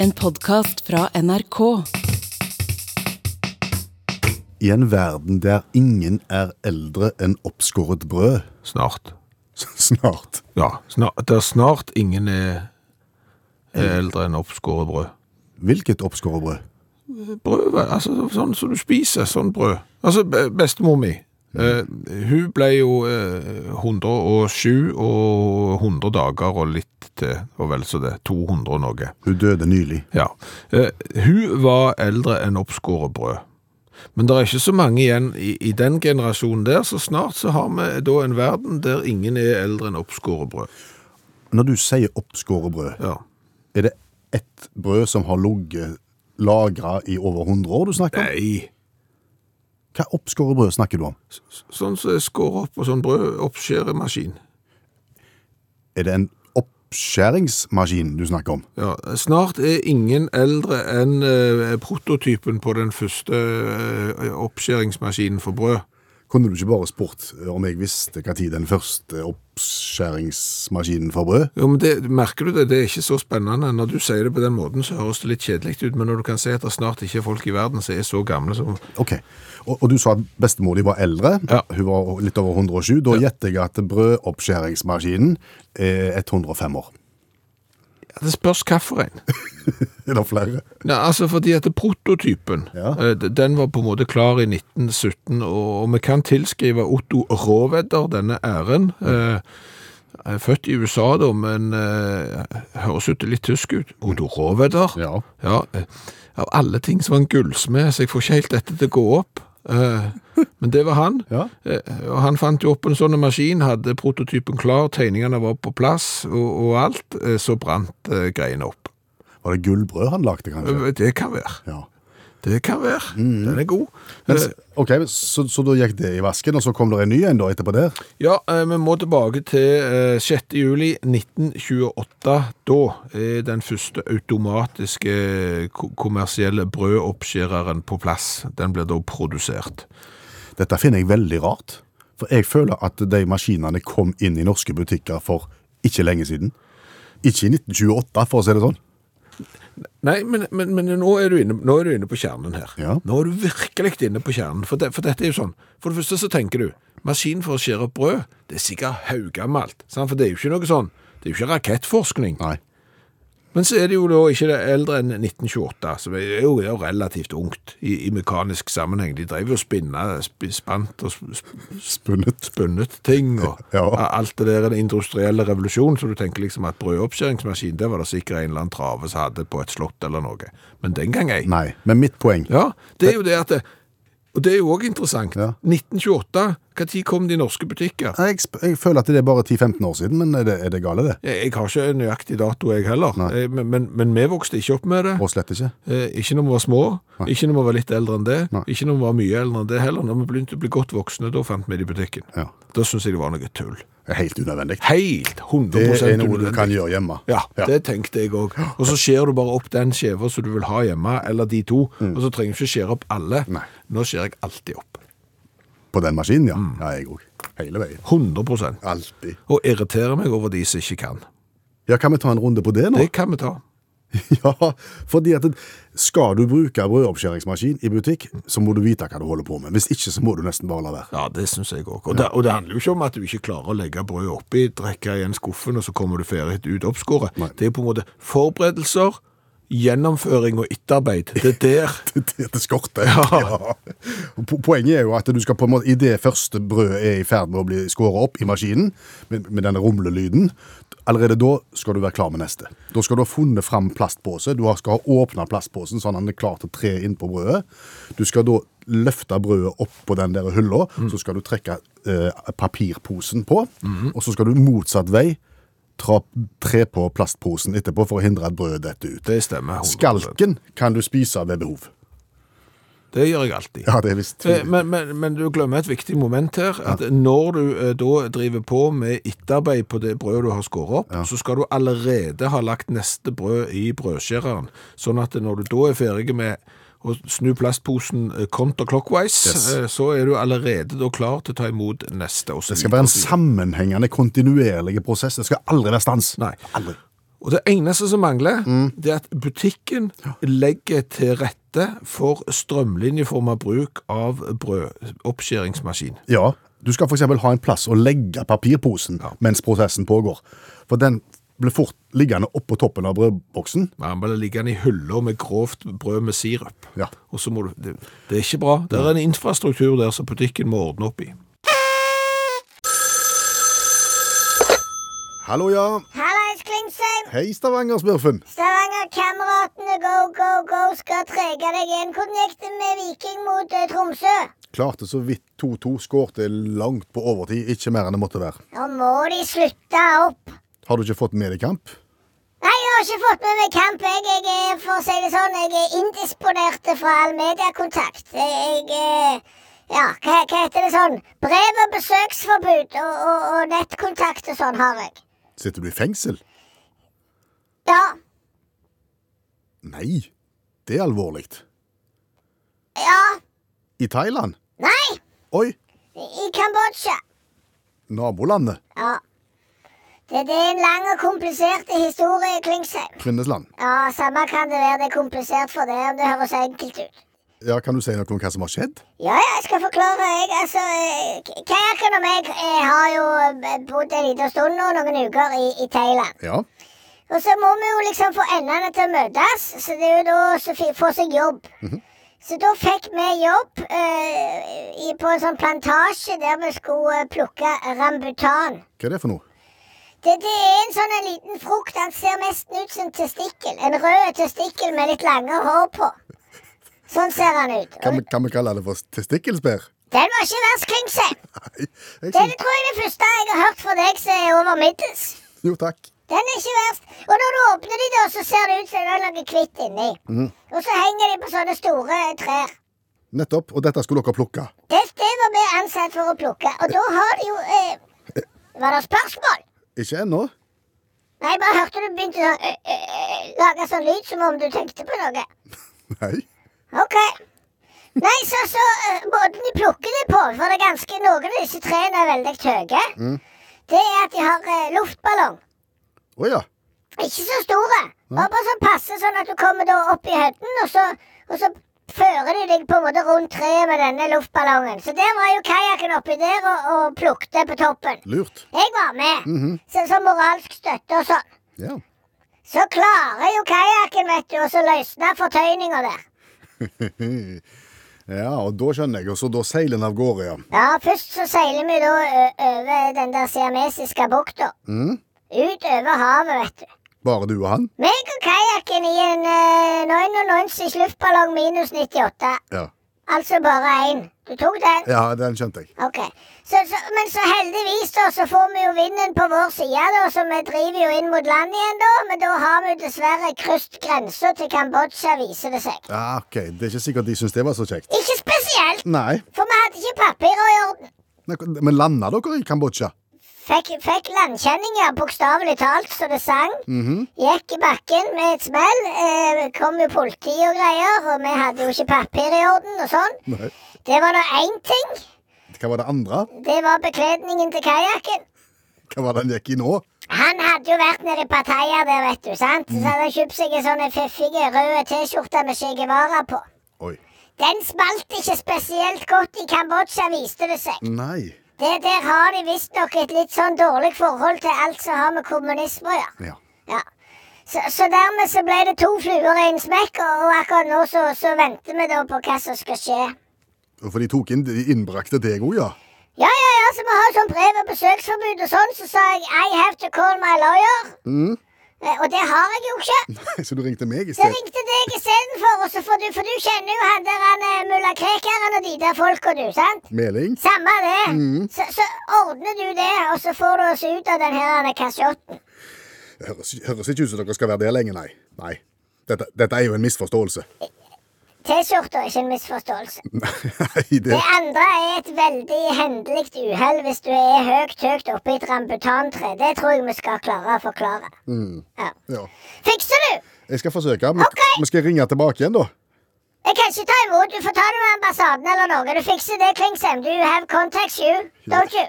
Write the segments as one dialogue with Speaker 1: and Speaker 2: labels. Speaker 1: En podkast fra NRK.
Speaker 2: I en verden der ingen er eldre enn oppskåret brød
Speaker 3: Snart.
Speaker 2: snart.
Speaker 3: Ja, snart, det er snart ingen er, er eldre enn oppskåret brød.
Speaker 2: Hvilket oppskåret brød?
Speaker 3: Brød, hva? altså så- sånn som du spiser, sånn brød. Altså, be- bestemor mi, eh, hun ble jo eh, 107 og 100 dager og litt til, og vel så det, 200 og noe.
Speaker 2: Hun døde nylig.
Speaker 3: Ja. Eh, hun var eldre enn oppskåret brød. Men det er ikke så mange igjen i, i den generasjonen der, så snart så har vi da en verden der ingen er eldre enn oppskåret brød.
Speaker 2: Når du sier oppskåret brød,
Speaker 3: Ja.
Speaker 2: er det ett brød som har ligget lagra i over 100 år du snakker om?
Speaker 3: Nei,
Speaker 2: Hva oppskåret brød snakker du om?
Speaker 3: sånn som jeg skår opp på sånn brød, oppskjæremaskin.
Speaker 2: Er det en oppskjæringsmaskin du snakker om?
Speaker 3: Ja, snart er ingen eldre enn eh, prototypen på den første eh, oppskjæringsmaskinen for brød.
Speaker 2: Kunne du ikke bare spurt om jeg visste hva tid den første oppskjæringsmaskinen for brød?
Speaker 3: Jo, men det, Merker du det? Det er ikke så spennende. Når du sier det på den måten, så høres det litt kjedelig ut, men når du kan se at det snart ikke er folk i verden som er så gamle som
Speaker 2: Ok, og, og du sa at bestemor di var eldre,
Speaker 3: Ja.
Speaker 2: hun var litt over 107. Da gjetter jeg at brødoppskjæringsmaskinen er 105 år.
Speaker 3: ja, Det spørs hvilken.
Speaker 2: Er det flere?
Speaker 3: Nei, altså fordi at prototypen,
Speaker 2: Ja.
Speaker 3: eh, d- den var på en måte klar i 1917, og, og vi kan tilskrive Otto Råvedder denne æren. Eh, er født i USA da, men eh, høres ut litt tysk ut. Otto Råvedder?
Speaker 2: Ja.
Speaker 3: eh, av alle ting så var han gullsmed, så jeg får ikke helt dette til å gå opp. Eh, men det var han.
Speaker 2: Ja.
Speaker 3: Eh, og han fant jo opp en sånn maskin, hadde prototypen klar, tegningene var på plass og, og alt, eh, så brant eh, greiene opp.
Speaker 2: Var det gullbrød han lagde, kanskje?
Speaker 3: Eh, Det kan være.
Speaker 2: Ja.
Speaker 3: Det kan være. Den er god.
Speaker 2: Mm. Men,
Speaker 3: Eh,
Speaker 2: s- ok, så, så da gikk det i vasken, og så kom det en ny en da etterpå der?
Speaker 3: Ja, eh, vi må tilbake til eh, 6. juli 1928. Da er den første automatiske eh, ko- kommersielle brødoppskjæreren på plass. Den blir da produsert.
Speaker 2: Dette finner jeg veldig rart, for jeg føler at de maskinene kom inn i norske butikker for ikke lenge siden. Ikke i 1928, for å si det sånn.
Speaker 3: Nei, men, men, men nå, er du inne, nå er du inne på kjernen her.
Speaker 2: Ja.
Speaker 3: Nå er du virkelig inne på kjernen, for, det, for dette er jo sånn. For det første så tenker du, maskin for å skjære opp brød, det er sikkert haugammalt. sant? For det er jo ikke noe sånn, det er jo ikke rakettforskning.
Speaker 2: Nei.
Speaker 3: Men så er det jo da ikke det eldre enn 1928, som er jo, er jo relativt ungt i, i mekanisk sammenheng. De drev jo og spinna, sp spant og sp sp-
Speaker 2: Spunnet.
Speaker 3: spunnet ting og
Speaker 2: Ja.
Speaker 3: a- alt det der, den industrielle revolusjonen, så du tenker liksom at brødoppskjæringsmaskin, det var det sikkert en eller annen trave som hadde på et slott eller noe. Men den gang ei.
Speaker 2: Nei, men mitt poeng
Speaker 3: Ja, det er jo det at det, Og det er jo òg interessant.
Speaker 2: Ja.
Speaker 3: 1928, når kom de norske butikker?
Speaker 2: Nei, jeg, sp- jeg føler at det er bare 10-15 år siden, men er det, er det gale, det?
Speaker 3: Jeg, jeg har ikke en nøyaktig dato, jeg heller.
Speaker 2: Nei.
Speaker 3: Eh, Men, men, men vi vokste ikke opp med det.
Speaker 2: Og slett ikke.
Speaker 3: Eh, Ikke når vi var små, ikke når vi var litt eldre enn det,
Speaker 2: Nei.
Speaker 3: ikke når vi var mye eldre enn det heller. Når vi begynte å bli godt voksne, da fant vi det i butikken.
Speaker 2: Ja.
Speaker 3: Da syns jeg det var noe tull.
Speaker 2: Det er Helt unødvendig.
Speaker 3: Helt 100
Speaker 2: Det er noe du
Speaker 3: unødvendig.
Speaker 2: kan gjøre hjemme.
Speaker 3: Ja,
Speaker 2: Ja.
Speaker 3: det tenkte jeg òg. Og så skjærer du bare opp den skjeva som du vil ha hjemme, eller de to. Og så trenger du ikke skjære opp alle.
Speaker 2: Mm. Nei.
Speaker 3: Nå skjærer jeg alltid opp.
Speaker 2: På den maskinen, ja.
Speaker 3: Mm.
Speaker 2: Ja, jeg òg. Hele veien.
Speaker 3: 100
Speaker 2: Alltid.
Speaker 3: Og irriterer meg over de som ikke kan.
Speaker 2: Ja, kan vi ta en runde på det nå?
Speaker 3: Det kan vi ta.
Speaker 2: Ja, fordi at skal du bruke brødoppskjæringsmaskin i butikk, så må du vite hva du holder på med. Hvis ikke, så må du nesten bare la være.
Speaker 3: Ja, det syns jeg òg. Og, det- og det handler jo ikke om at du ikke klarer å legge brødet oppi, drikke igjen skuffen, og så kommer du ferdig ut oppskåret.
Speaker 2: Nei.
Speaker 3: Det er på en måte forberedelser, gjennomføring og etterarbeid. Det er der.
Speaker 2: Det, det, det skorter. Ja. Po- Poenget er jo at du skal på en måte, i det første brødet er i ferd med å bli skåret opp i maskinen, med, med denne rumlelyden, allerede da skal du være klar med neste. Da skal du ha funnet fram plastpåse, du har- skal ha åpnet plastpåsen sånn at den er klar til å tre inn på brødet. Du skal da løfte brødet opp på den der hylla, så skal du trekke eh, papirposen på, og så skal du motsatt vei tra, tre på plastposen etterpå for å hindre at brødet detter ut.
Speaker 3: Det stemmer. 100%.
Speaker 2: Skalken kan du spise ved behov.
Speaker 3: Det gjør jeg alltid.
Speaker 2: Ja, det er visst.
Speaker 3: Eh, Men, men, men du glemmer et viktig moment her. At Når du eh, da driver på med etterarbeid på det brødet du har skåret opp, så skal du allerede ha lagt neste brød i brødskjæreren. Sånn at når du da er ferdig med å snu plastposen eh, counterclockwise,
Speaker 2: Yes.
Speaker 3: eh, så er du allerede da klar til å ta imot neste. Og så
Speaker 2: Det skal
Speaker 3: videre.
Speaker 2: være en sammenhengende, kontinuerlig prosess. Det skal aldri være stans.
Speaker 3: Nei.
Speaker 2: Aldri.
Speaker 3: Og det eneste som mangler,
Speaker 2: Mm.
Speaker 3: det er at butikken legger til rette for strømlinjeforma bruk av brødoppskjæringsmaskin.
Speaker 2: Ja, du skal for eksempel ha en plass å legge papirposen mens prosessen pågår. For den blir fort liggende oppå toppen av brødboksen.
Speaker 3: Man bare ligger den i hyller med grovt brød med sirup.
Speaker 2: Ja.
Speaker 3: Og så må du, det, det er ikke bra. Det er en infrastruktur der som butikken må ordne opp i.
Speaker 2: Hallo, ja.
Speaker 4: Hallais, Klingsheim!
Speaker 2: Hei, Stavanger-smurfen.
Speaker 4: Stavanger-kameratene go, go, go skal trege deg inn. Hvordan gikk det med Viking mot eh, Tromsø?
Speaker 2: Klarte så vidt 2-2, skårte langt på overtid, ikke mer enn det måtte være.
Speaker 4: Nå må de slutte opp.
Speaker 2: Har du ikke fått med deg kamp?
Speaker 4: Nei, jeg har ikke fått med meg kamp. Jeg, jeg er for å si det sånn, jeg er indisponert fra all mediekontakt. Jeg, jeg eh, Ja, hva, hva heter det sånn? Brev og besøksforbud og, og, og nettkontakt og sånn har jeg.
Speaker 2: Sitter du i fengsel?
Speaker 4: Ja.
Speaker 2: Nei, det er alvorlig.
Speaker 4: Ja.
Speaker 2: I Thailand?
Speaker 4: Nei!
Speaker 2: Oi,
Speaker 4: I Kambodsja.
Speaker 2: nabolandet.
Speaker 4: Ja. Det, det er en lang og komplisert historie, Klingsheim.
Speaker 2: Kvinnesland.
Speaker 4: Ja, samme kan det være. Det er komplisert for deg om det høres enkelt ut.
Speaker 2: Ja, kan du si noe om hva som har skjedd?
Speaker 4: Ja, ja, jeg skal forklare. Jeg, altså, eh, K- Kajakken og meg eh, har jo eh, bodd en liten stund nå, noen uker, i, i Thailand.
Speaker 2: Ja.
Speaker 4: Og så må vi jo liksom få endene til å møtes, så det er jo da å fi- få seg jobb. Så da fikk vi jobb eh, i, på en sånn plantasje der vi skulle eh, plukke rambutan.
Speaker 2: Hva er det for noe?
Speaker 4: Det, det er en sånn en liten frukt. Den ser nesten ut som en testikkel. En rød testikkel med litt lange hår på. Sånn ser han ut.
Speaker 2: Kan vi, kan vi kalle det for testikkelspær?
Speaker 4: Den var ikke verst, Klingse.
Speaker 2: Nei, jeg
Speaker 4: Det er
Speaker 2: synes...
Speaker 4: det, tror jeg det første jeg har hørt fra deg som er over middels.
Speaker 2: Jo, takk.
Speaker 4: Den er ikke verst. Og når du åpner de, da, så ser det ut som det er noe hvitt inni.
Speaker 2: Mhm.
Speaker 4: Og så henger de på sånne store trær.
Speaker 2: Nettopp. Og dette skulle dere plukke.
Speaker 4: Det, det var vi ansatt for å plukke. Og da har de jo eh, Var det spørsmål?
Speaker 2: Ikke ennå.
Speaker 4: Nei, jeg bare hørte du begynte å eh, eh, lage sånn lyd som om du tenkte på noe.
Speaker 2: Nei.
Speaker 4: Ok. Nei, så, så eh, måten de plukker det på, for det er ganske noen av disse trærne er veldig høye, det er at de har eh, luftballong.
Speaker 2: Å ja.
Speaker 4: Ikke så store. Bare på sånn passe, sånn at du kommer da opp i høyden, og så, og så fører de deg på en måte rundt treet med denne luftballongen. Så der var jo kajakken oppi der og, og plukte på toppen.
Speaker 2: Lurt.
Speaker 4: Jeg var med, så, som moralsk støtte og sånn.
Speaker 2: Ja.
Speaker 4: Så klarer jo kajakken, vet du, og så løsne fortøyninga der.
Speaker 2: ja, og da skjønner jeg. Og så da seiler den av gårde, ja.
Speaker 4: Ja, først så seiler vi da ø- over den der siamesiske bukta. Ut over havet, vet du.
Speaker 2: Bare du og han?
Speaker 4: Meg og kajakken i en uh, 990 luftballong minus 98.
Speaker 2: Ja.
Speaker 4: Altså bare én. Du tok den?
Speaker 2: Ja, den skjønte jeg.
Speaker 4: Ok. Så, så, men så heldigvis, da, så får vi jo vinden på vår side, da, så vi driver jo inn mot land igjen, da. Men da har vi dessverre krysset grensa til Kambodsja, viser det seg.
Speaker 2: Ja, ok. Det er ikke sikkert de syns det var så kjekt.
Speaker 4: Ikke spesielt,
Speaker 2: Nei.
Speaker 4: for vi hadde ikke papirer i orden.
Speaker 2: Nei, Men landa dere i Kambodsja?
Speaker 4: Fikk, fikk landkjenninger, bokstavelig talt, så det sang. Gikk i bakken med et smell. Eh, kom jo politi og greier, og vi hadde jo ikke papir i orden og sånn.
Speaker 2: Nei.
Speaker 4: Det var nå én ting.
Speaker 2: Hva var det andre?
Speaker 4: Det var bekledningen til kajakken.
Speaker 2: Hva var det han gikk i nå?
Speaker 4: Han hadde jo vært nede i Pattaya der, vet du. sant? Så hadde han kjøpt seg en sånn fiffig rød T-skjorte med Che Guevara på.
Speaker 2: Oi.
Speaker 4: Den smalt ikke spesielt godt i Kambodsja, viste det seg.
Speaker 2: Nei.
Speaker 4: Det Der har de visstnok et litt sånn dårlig forhold til alt som har med kommunisme å gjøre.
Speaker 2: Ja.
Speaker 4: Ja. Så, så dermed så ble det to fluer i en smekk, og, og akkurat nå så, så venter vi da på hva som skal skje.
Speaker 2: Og For de tok inn, de innbrakte deg òg, ja?
Speaker 4: Ja, ja, ja, så vi har jo sånn brev og besøksforbud og sånn, så sa jeg I have to call my lawyer. Eh, Og det har jeg jo ikke.
Speaker 2: Så du ringte meg i
Speaker 4: Så
Speaker 2: sted?
Speaker 4: ringte deg istedenfor, og så får du, for du kjenner jo han der han eh, mulla Krekaren og de der folka, du, sant?
Speaker 2: Meling?
Speaker 4: Samme det. Så, så ordner du det, og så får du oss ut av den her denne kasjotten.
Speaker 2: Det høres, høres ikke ut som dere skal være der lenge, nei. Nei. Dette, dette er jo en misforståelse.
Speaker 4: T-skjorta, ikke en misforståelse.
Speaker 2: Nei, det
Speaker 4: Det andre er et veldig hendelig uhell hvis du er høyt, høyt oppe i et rambutantre. Det tror jeg vi skal klare å forklare. Ja.
Speaker 2: ja.
Speaker 4: Fikser du?
Speaker 2: Jeg skal forsøke. Vi,
Speaker 4: Ok.
Speaker 2: vi skal ringe tilbake igjen, da.
Speaker 4: Jeg kan ikke ta imot. Du får ta det med ambassaden eller noe. Du fikser det, Klingsheim. Du have contacts, you. Don't you?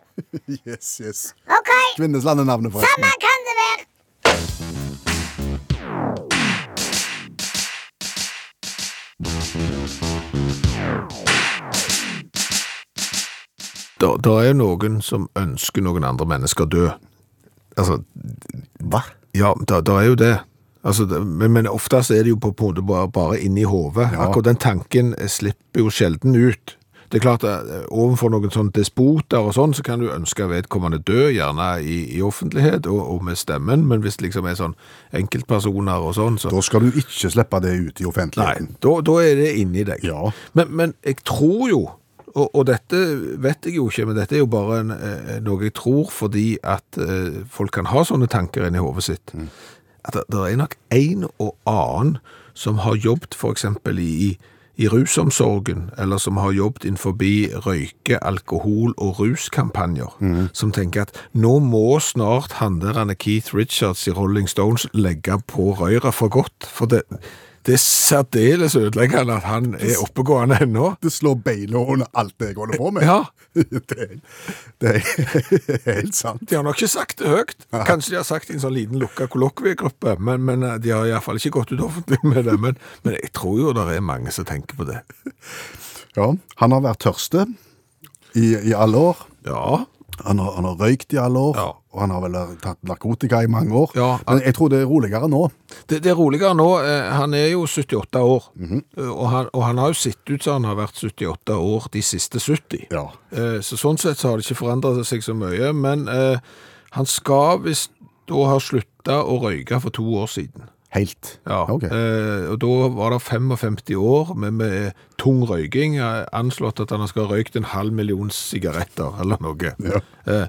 Speaker 2: Yes, yes.
Speaker 4: OK.
Speaker 2: Kvinnesland er navnet, forresten.
Speaker 4: Samme kan det være.
Speaker 3: Da, da er noen som ønsker noen andre mennesker død. Altså,
Speaker 2: Hva?
Speaker 3: ja, da, da er jo det. Altså, det men, men ofte så er det jo på, på en måte bare, bare inni hovedet.
Speaker 2: Ja.
Speaker 3: Akkurat den tanken eh, slipper jo sjelden ut. Det er klart, eh, overfor noen sånne despoter og sånn, så kan du ønske vedkommende død, gjerne i, i offentlighet og, og med stemmen, men hvis det liksom er sånn enkeltpersoner og sånn, så
Speaker 2: Da skal du ikke slippe det ut i
Speaker 3: Nei,
Speaker 2: offentligheten.
Speaker 3: da, da er det inni deg.
Speaker 2: Ja.
Speaker 3: Men, men jeg tror jo, og, og dette vet jeg jo ikke, men dette er jo bare en, eh, noe jeg tror fordi at eh, folk kan ha sånne tanker inni hodet sitt. At det, det er nok en og annen som har jobbet for eksempel i, i rusomsorgen, eller som har jobbet innenfor røyke, alkohol og ruskampanjer, som tenker at nå må snart handlerne Keith Richards i Rolling Stones legge på røyra for godt, for det, det er særdeles ødeleggende at han er oppegående ennå.
Speaker 2: Det slår beina under alt det jeg holder på med.
Speaker 3: Ja.
Speaker 2: Det, det er helt sant.
Speaker 3: De har nok ikke sagt det høyt. Kanskje de har sagt det i en sånn liten lukka kollokviegruppe, men, men eh, de har iallfall ikke gått ut offentlig med det. Men, men jeg tror jo det er mange som tenker på det.
Speaker 2: Ja, han har vært tørste i, i alle år.
Speaker 3: Ja,
Speaker 2: Han har, han har røykt i alle år,
Speaker 3: Ja.
Speaker 2: og han har vel tatt narkotika i mange år.
Speaker 3: Ja,
Speaker 2: Men jeg tror det er roligere nå.
Speaker 3: Det, det er roligere nå. eh, Han er jo 78 år, Eh, og, han, og han har jo sett ut som han har vært 78 år de siste 70.
Speaker 2: Ja.
Speaker 3: Eh, Så sånn sett så har det ikke forandret seg så mye, men eh, han skal visst da ha slutta å røyke for to år siden.
Speaker 2: Helt.
Speaker 3: Ja,
Speaker 2: Ok.
Speaker 3: eh, og da var det 55 år med, med tung røyking, eh, anslått at han skal ha røykt en halv million sigaretter eller noe.
Speaker 2: Ja.
Speaker 3: Eh,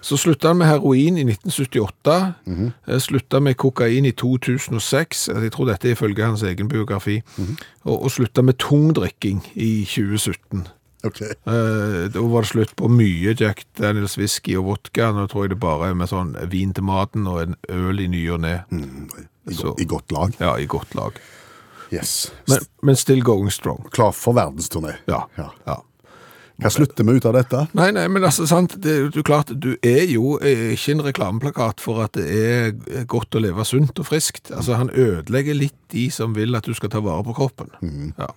Speaker 3: Så slutta han med heroin i 1978,
Speaker 2: Mhm.
Speaker 3: eh, slutta med kokain i 2006, eh, jeg tror dette er ifølge hans egen biografi,
Speaker 2: Mhm.
Speaker 3: og, og slutta med tungdrikking i 2017.
Speaker 2: Ok.
Speaker 3: Eh, Da var det slutt på mye Jack Daniels whisky og vodka, nå tror jeg det bare er med sånn vin til maten og en øl i ny og ne.
Speaker 2: Mm, I,
Speaker 3: Så-
Speaker 2: go- I godt lag.
Speaker 3: Ja, i godt lag.
Speaker 2: Yes.
Speaker 3: Men, men still going strong.
Speaker 2: Klar for verdensturné.
Speaker 3: Ja.
Speaker 2: Ja.
Speaker 3: ja.
Speaker 2: Hva slutter vi ut av dette?
Speaker 3: Nei, nei, men altså, sant, det, er jo- du, klart, du er jo eh, ikke en reklameplakat for at det er godt å leve sunt og friskt. Altså, han ødelegger litt de som vil at du skal ta vare på kroppen. Ja.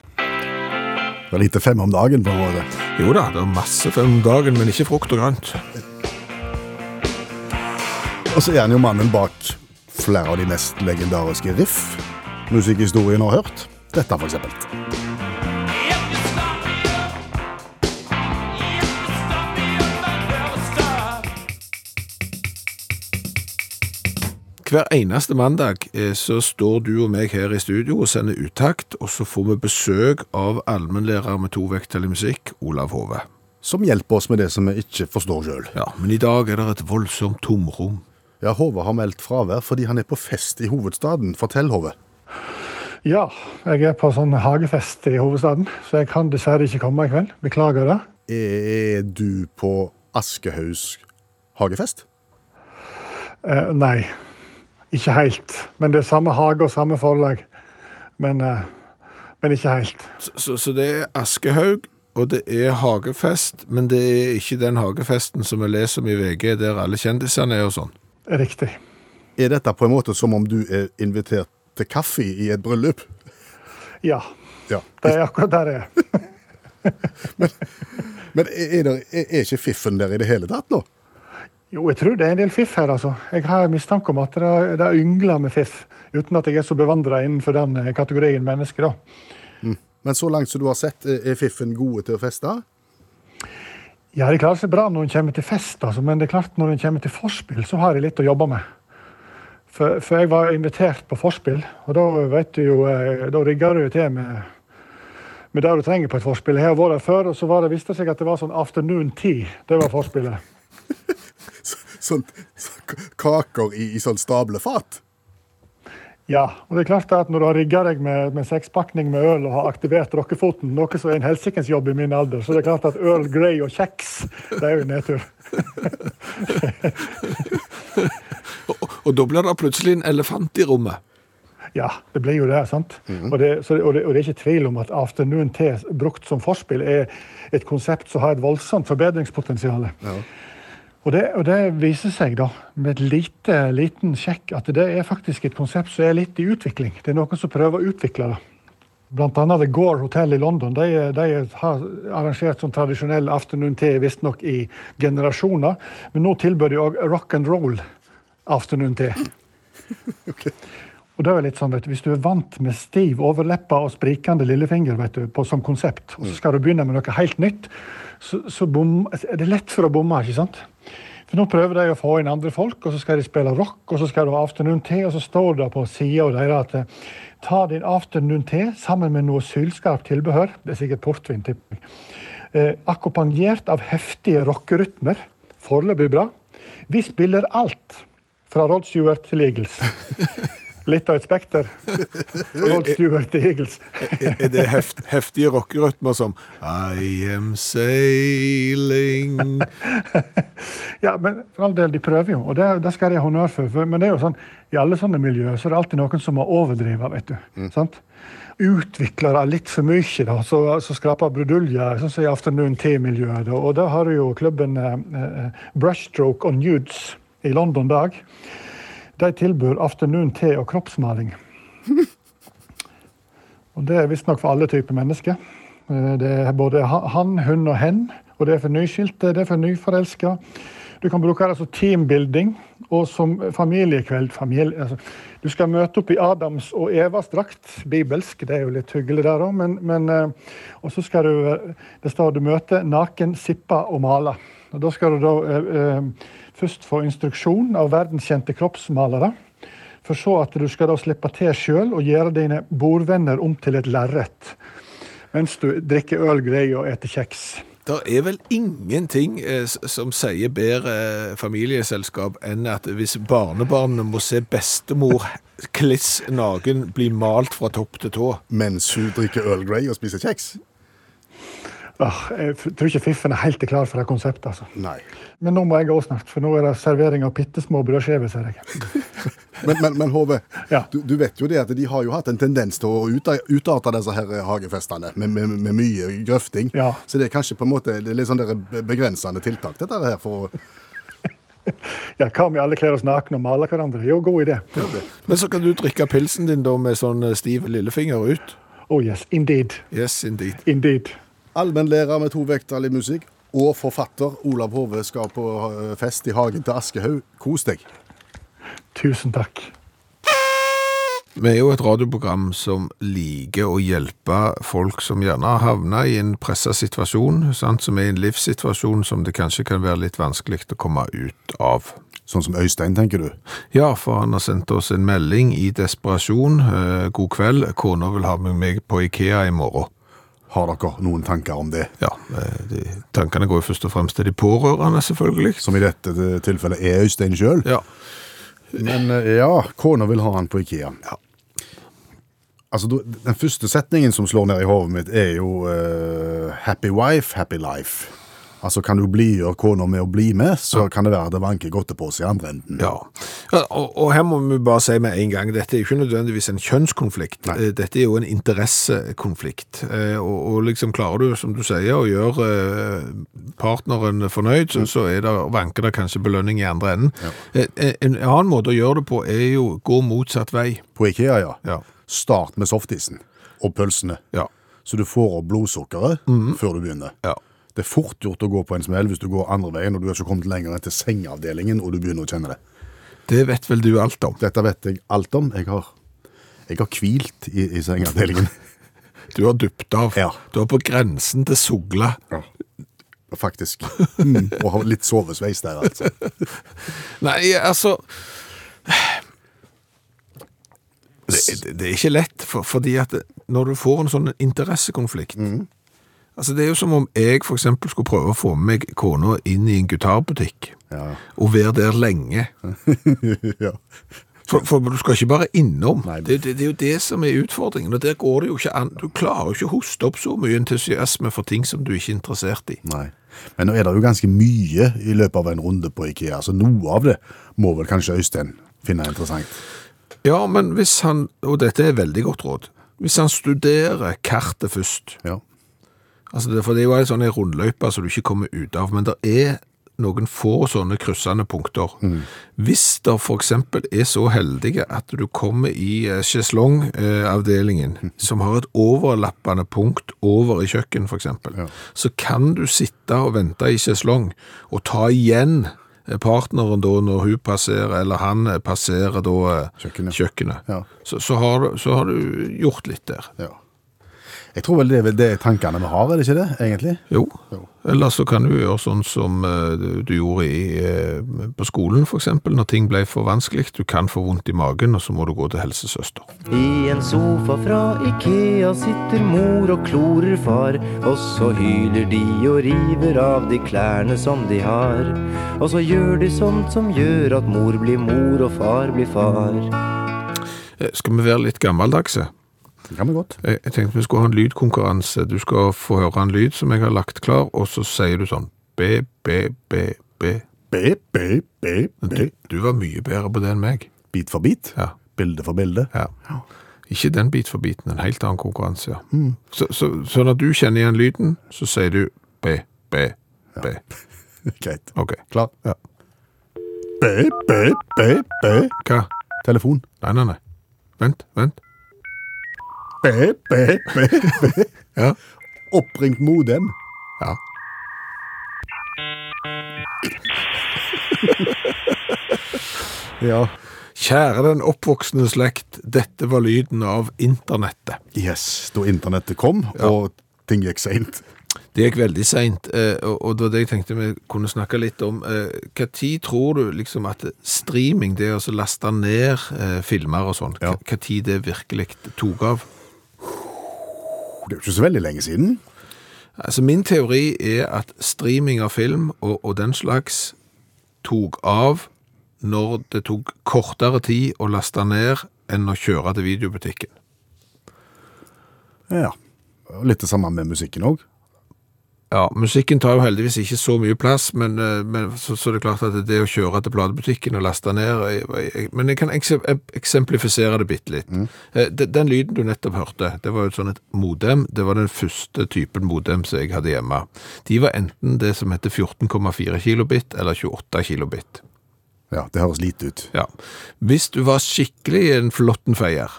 Speaker 2: Det er lite fem om dagen på rådet.
Speaker 3: Jo da, det er masse for om dagen, men ikke frukt og grønt.
Speaker 2: Og så er han jo mannen bak flere av de mest legendariske riff musikkhistorien har hørt. Dette, for eksempel.
Speaker 3: Hver eneste mandag eh, så står du og meg her i studio og sender uttakt, og så får vi besøk av allmennlærer med to vekttall i musikk, Olav Hove.
Speaker 2: Som hjelper oss med det som vi ikke forstår sjøl.
Speaker 3: Ja, men i dag er det et voldsomt tomrom.
Speaker 2: Ja, Hove har meldt fravær fordi han er på fest i hovedstaden. Fortell, Hove.
Speaker 5: Ja, jeg er på sånn hagefest i hovedstaden, så jeg kan dessverre ikke komme i kveld. Beklager det.
Speaker 2: Er du på Aschehougs hagefest?
Speaker 5: Eh, nei, ikke helt. Men det er samme hage og samme forlag. Men, eh, men ikke helt.
Speaker 3: Så, så, så det er Askehaug, og det er hagefest, men det er ikke den hagefesten som vi leser om i VG, der alle kjendisene er og sånn.
Speaker 5: Riktig.
Speaker 2: Er dette på en måte som om du er invitert til kaffe i et bryllup?
Speaker 5: Ja,
Speaker 2: Ja.
Speaker 5: det er akkurat der jeg er.
Speaker 2: Men er, er, det- er ikke fiffen der i det hele tatt nå?
Speaker 5: Jo, jeg tror det er en del fiff her, altså. Jeg har mistanke om at det det yngler med fiff. Uten at jeg er så bevandra innenfor den eh, kategorien mennesker, da.
Speaker 2: Men så langt som du har sett, er er fiffen gode til å feste?
Speaker 5: Ja, det klarer seg bra når en kommer til fest, altså, men det er klart når en kommer til forspill, så har jeg litt å jobbe med. For, for jeg var invitert på forspill, og da vet du jo, eh, da rigger du jo til med, med det du trenger på et forspill. Jeg har vært der før, og så var det, viste det seg at det var sånn afternoon tea. Det var forspillet.
Speaker 2: Så- Sånn så, kaker i, i sånn stablefat?
Speaker 5: Ja, og det er klart at når du har rigga deg med, med sekspakning med øl og har aktivert rockefoten, noe som er en helsikens jobb i min alder, så det er klart at Earl Grey og kjeks, det er jo en nedtur.
Speaker 3: Og, og da blir det plutselig en elefant i rommet.
Speaker 5: Ja, det blir jo det. sant? og, det, så, og, det, og det er ikke tvil om at afternoon tea brukt som forspill er et konsept som har et voldsomt forbedringspotensial. Og, det, og det viser seg da, med et lite, liten sjekk, at det er faktisk et konsept som er litt i utvikling. Det er noen som prøver å utvikle det. Blant annet The Gore Hotel i London. De, de har arrangert sånn tradisjonell afternoon tea visstnok i generasjoner. Men nå tilbød de òg rock and roll afternoon tea. Og det er jo litt sånn, vet du, Hvis du er vant med stiv overleppe og sprikende lillefinger vet du, på, som konsept, og så skal du begynne med noe helt nytt, så, så bom, er det lett for å bomme. ikke sant? For Nå prøver de å få inn andre folk, og så skal de spille rock, og så skal de ha afternoon tea, og så står det på sida deres at eh, ta din afternoon tea sammen med noe sylskarpt tilbehør, det er sikkert portvin, tipper jeg, eh, akkompagnert av heftige rockerytmer, foreløpig bra. Vi spiller alt, fra Rod Stewart til Eagles. Litt av et spekter. Rod Stewart til Eagles.
Speaker 3: Er er det heft, heftige rockerytmer som I am sailing
Speaker 5: Ja, men for all del, de prøver jo, og det, det skal de ha honnør for. for. Men det er jo sånn, i alle sånne miljøer så er det alltid noen som har overdrevet, vet du. Sant? Utvikler det litt for mye, da, så, så skraper bruduljer, sånn som i Afternoon Tea-miljøet. da. Og der har du jo klubben eh, eh, Brushstroke on Nudes i London dag. De tilbyr afternoon tea og kroppsmaling. Og det er visstnok for alle typer mennesker. Eh, Det er både ha- han, hun og hen. Og det er for nyskilte, det er for nyforelska. Du kan bruke det som teambuilding og som familiekveld. Familie, altså, du skal møte opp i Adams og Evas drakt, bibelsk, det er jo litt hyggelig der òg, men, men eh, Og så skal du eh, Det står du møter naken, sippa og mala. Og da skal du da eh, eh, først få instruksjon av verdenskjente kroppsmalere. For så at du skal da slippe til sjøl og gjøre dine bordvenner om til et lerret. Mens du drikker øl, greier og eter kjeks.
Speaker 3: Det er vel ingenting eh, s- som sier bedre eh, familieselskap enn at hvis barnebarnet må se bestemor kliss naken bli malt fra topp til tå.
Speaker 2: Mens hun drikker Earl Grey og spiser kjeks?
Speaker 5: Åh, Ah, jeg f- tror ikke fiffen er helt klar for det konseptet. altså.
Speaker 2: Nei.
Speaker 5: Men nå må jeg gå snart, for nå er det servering av bitte små brødskiver. ser jeg.
Speaker 2: Men, men, men HV,
Speaker 5: Ja.
Speaker 2: du, du vet jo det at de har jo hatt en tendens til å uta- utarte disse her hagefestene med, med, med mye grøfting.
Speaker 5: Ja.
Speaker 2: Så det er kanskje på en måte det er litt sånn der be- begrensende tiltak, dette her. for å...
Speaker 5: Ja, Hva om vi alle kler oss nakne og maler hverandre? Jo, god idé.
Speaker 3: Men så kan du drikke pilsen din da med sånn eh, stiv lillefinger ut.
Speaker 5: Oh yes, indeed.
Speaker 3: Yes, indeed.
Speaker 5: Indeed.
Speaker 2: Allmennlærer med to vekttall i musikk og forfatter Olav Hove skal på eh, fest i hagen til Aschehoug. Kos deg.
Speaker 5: Tusen takk.
Speaker 3: Vi er jo et radioprogram som liker å hjelpe folk som gjerne har havnet i en pressa situasjon, sant? som er i en livssituasjon som det kanskje kan være litt vanskelig å komme ut av.
Speaker 2: Sånn som Øystein, tenker du?
Speaker 3: Ja, for han har sendt oss en melding i desperasjon. Eh, God kveld, kona vil ha med meg på Ikea i morgen.
Speaker 2: Har dere noen tanker om det?
Speaker 3: Ja, eh, de, tankene går jo først og fremst til de pårørende, selvfølgelig.
Speaker 2: Som i dette eh, tilfellet er Øystein sjøl.
Speaker 3: Ja,
Speaker 2: Men eh, ja, kona vil ha han på Ikea. Altså, du- Den første setningen som slår ned i hodet mitt, er jo eh, 'happy wife, happy life'. Altså, Kan du blidgjøre kona med å bli med, så kan det være det vanker godt på oss i andre enden.
Speaker 3: ja. ja og, og her må vi bare si med en gang, dette er jo ikke nødvendigvis en kjønnskonflikt. Eh, Dette er jo en interessekonflikt. Eh, Og, og liksom klarer du, som du sier, å gjøre eh, partneren fornøyd, så, så er det, vanker det kanskje belønning i andre enden. Eh, En, en annen måte å gjøre det på er jo gå motsatt vei.
Speaker 2: På Ikea, ja.
Speaker 3: Ja.
Speaker 2: Start med softisen og pølsene,
Speaker 3: Ja.
Speaker 2: så du får opp blodsukkeret før du begynner.
Speaker 3: Ja.
Speaker 2: Det er fort gjort å gå på en smell hvis du går andre veien og du har ikke kommet lenger enn til sengeavdelingen og du begynner å kjenne det.
Speaker 3: Det vet vel du alt om.
Speaker 2: Dette vet jeg alt om. Jeg har, jeg har hvilt i, i sengeavdelingen.
Speaker 3: Du har duppet av.
Speaker 2: Ja.
Speaker 3: Du er på grensen til sugla.
Speaker 2: faktisk. Mm, og har litt sovesveis der, altså.
Speaker 3: Nei, altså det, det, det er ikke lett, for, fordi at når du får en sånn interessekonflikt
Speaker 2: Mm.
Speaker 3: Altså, Det er jo som om jeg for eksempel skulle prøve å få med meg kona inn i en gitarbutikk.
Speaker 2: Ja.
Speaker 3: Og være der lenge.
Speaker 2: ja.
Speaker 3: For, for du skal ikke bare innom.
Speaker 2: Nei.
Speaker 3: Det, det, det er jo det som er utfordringen. og der går det jo ikke an. Du klarer jo ikke å hoste opp så mye entusiasme for ting som du ikke er interessert i.
Speaker 2: Nei. Men nå er det jo ganske mye i løpet av en runde på IKEA, så noe av det må vel kanskje Øystein finne interessant.
Speaker 3: Ja, men hvis han, og dette er veldig godt råd, hvis han studerer kartet først,
Speaker 2: Ja.
Speaker 3: altså det, for det er jo en sånn en rundløype som du ikke kommer ut av, men det er noen få sånne kryssende punkter.
Speaker 2: Mm.
Speaker 3: Hvis der for eksempel er så heldige at du kommer i eh, sjeslongavdelingen,
Speaker 2: Mm.
Speaker 3: som har et overlappende punkt over i kjøkken for eksempel, så kan du sitte og vente i sjeslong og ta igjen eh, partneren da når hun passerer, eller han eh, passerer da eh,
Speaker 2: Kjøkkenet.
Speaker 3: kjøkkenet.
Speaker 2: Ja.
Speaker 3: Så, så, har, du- så har du gjort litt der.
Speaker 2: Ja. Jeg tror vel det er vel det tankene vi har, er det ikke det, egentlig?
Speaker 3: Jo. Eller så kan du gjøre sånn som eh, du- du gjorde i, eh, på skolen, for eksempel, når ting ble for vanskelig. Du kan få vondt i magen, og så må du gå til helsesøster.
Speaker 6: I en sofa fra Ikea sitter mor og klorer far. Og så hyler de og river av de klærne som de har. Og så gjør de sånt som gjør at mor blir mor og far blir far.
Speaker 3: Eh, Skal vi være litt gammeldagse?
Speaker 2: Det kan vi godt.
Speaker 3: Jeg jeg tenkte vi skulle ha en lydkonkurranse. Du skal få høre en lyd som jeg har lagt klar, og så sier du sånn B, B, B, B.
Speaker 2: Be, be, be, be.
Speaker 3: Du, du var mye bedre på det enn meg.
Speaker 2: Bit for bit.
Speaker 3: Ja.
Speaker 2: Bilde for bilde.
Speaker 3: Ja. Mm. Ikke den bit for biten, en helt annen konkurranse. ja. Så, så, så når du kjenner igjen lyden, så sier du B, B, B.
Speaker 2: Greit.
Speaker 3: Ok.
Speaker 2: Klar?
Speaker 3: Ja.
Speaker 2: Be, be, be, be.
Speaker 3: Hva?
Speaker 2: Telefon.
Speaker 3: Nei, nei, nei. Vent, vent.
Speaker 2: Be, be, be, be.
Speaker 3: Ja.
Speaker 2: Oppringt modem.
Speaker 3: Ja.
Speaker 2: Ja.
Speaker 3: Kjære den oppvoksende slekt, dette var lyden av internettet.
Speaker 2: Yes, da internettet kom, og ting gikk seint.
Speaker 3: Det gikk veldig seint, eh, og og det var det jeg tenkte vi kunne snakke litt om. Når tror du liksom at streaming, det å så laste ned eh, filmer og sånn,
Speaker 2: Ja.
Speaker 3: når det virkelig tok av?
Speaker 2: Oh, Det er jo ikke så veldig lenge siden.
Speaker 3: Altså, min teori er at streaming av film og, og den slags tok av når det tok kortere tid å laste ned enn å kjøre til videobutikken.
Speaker 2: Ja. Og Litt det samme med musikken òg.
Speaker 3: Ja, musikken tar jo heldigvis ikke så mye plass, men, eh, men så, så er det klart at det å kjøre til platebutikken og laste ned jeg, jeg, Men jeg kan ekse- eksemplifisere det bitte litt. Eh, de- Den lyden du nettopp hørte, det var jo et sånn et modem. Det var den første typen modem som jeg hadde hjemme. De var enten det som heter 14,4 kilobit eller 28 kilobit.
Speaker 2: Ja, det høres lite ut.
Speaker 3: Ja. Hvis du var skikkelig en flottenfeier,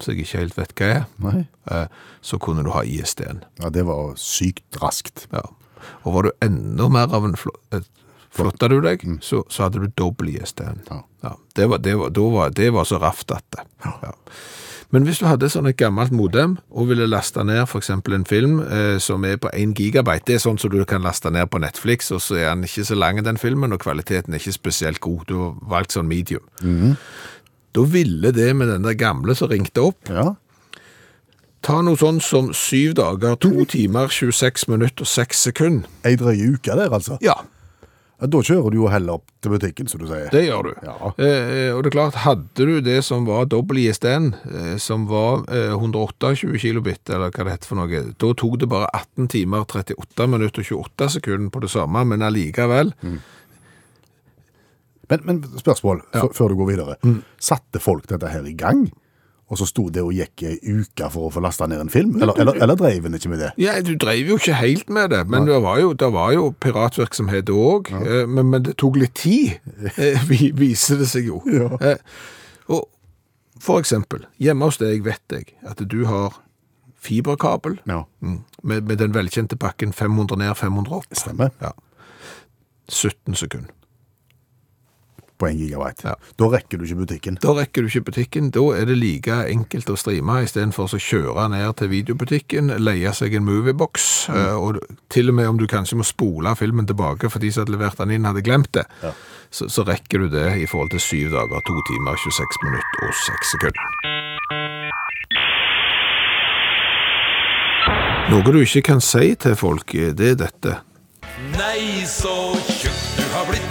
Speaker 3: så jeg ikke helt vet hva er,
Speaker 2: Nei.
Speaker 3: eh, så kunne du ha ISD-en.
Speaker 2: Ja, Det var sykt raskt.
Speaker 3: Ja. Og var du enda mer av en flo et- flotta du deg, så, så hadde du dobbel ISD-en.
Speaker 2: Ja.
Speaker 3: det, var, det, var, da var, det var så raft at det. Ja. Men hvis du hadde sånn et gammelt modem, og ville laste ned for eksempel en film eh, som er på 1 gigabyte, det er sånn som du kan laste ned på Netflix, og så er den ikke så lang den filmen, og kvaliteten er ikke spesielt god, du har valgt sånn medium. Da ville det med den der gamle som ringte opp,
Speaker 2: Ja.
Speaker 3: ta noe sånn som 7 dager, 2 timer, 26 minutter og 6 sekunder.
Speaker 2: Ei drøye uke der, altså.
Speaker 3: Ja,
Speaker 2: Ja, Da kjører du jo heller opp til butikken, som du sier.
Speaker 3: Det gjør du.
Speaker 2: Ja.
Speaker 3: Eh, og det er klart, hadde du det som var dobbel ISDN, eh, som var eh, 128 kilobit, eller hva det heter for noe, da tok det bare 18 timer, 38 minutter og 28 sekunder på det samme, men allikevel,
Speaker 2: Men, men spørsmål f- før du går videre.
Speaker 3: Mm.
Speaker 2: Satte folk dette her i gang? Og så sto det og gikk ei uke for å få lasta ned en film? Eller, eller, eller dreiv en ikke med det?
Speaker 3: ja, du drev jo ikke helt med det, men det var jo, det var jo piratvirksomhet også, eh, men, men det tok litt tid, eh, vi- viser det seg jo. Eh, og for eksempel, hjemme hos deg vet jeg at du har fiberkabel,
Speaker 2: Ja.
Speaker 3: Mm. Med, med den velkjente pakken 500 ned, 500 opp.
Speaker 2: Stemmer.
Speaker 3: Ja. 17 sekunder.
Speaker 2: På en gigabyte.
Speaker 3: Ja.
Speaker 2: Da rekker du ikke butikken.
Speaker 3: Da rekker du ikke butikken, da er det like enkelt å streame istedenfor å kjøre ned til videobutikken, leie seg en moviebox, eh, og til og med om du kanskje må spole filmen tilbake for de som hadde levert den inn, hadde glemt det, så, så rekker du det i forhold til syv dager, to timer, 26 minutter og seks sekunder. Noe du ikke kan si til folk, eh, det er dette.
Speaker 7: Nei, så tjukk du har blitt.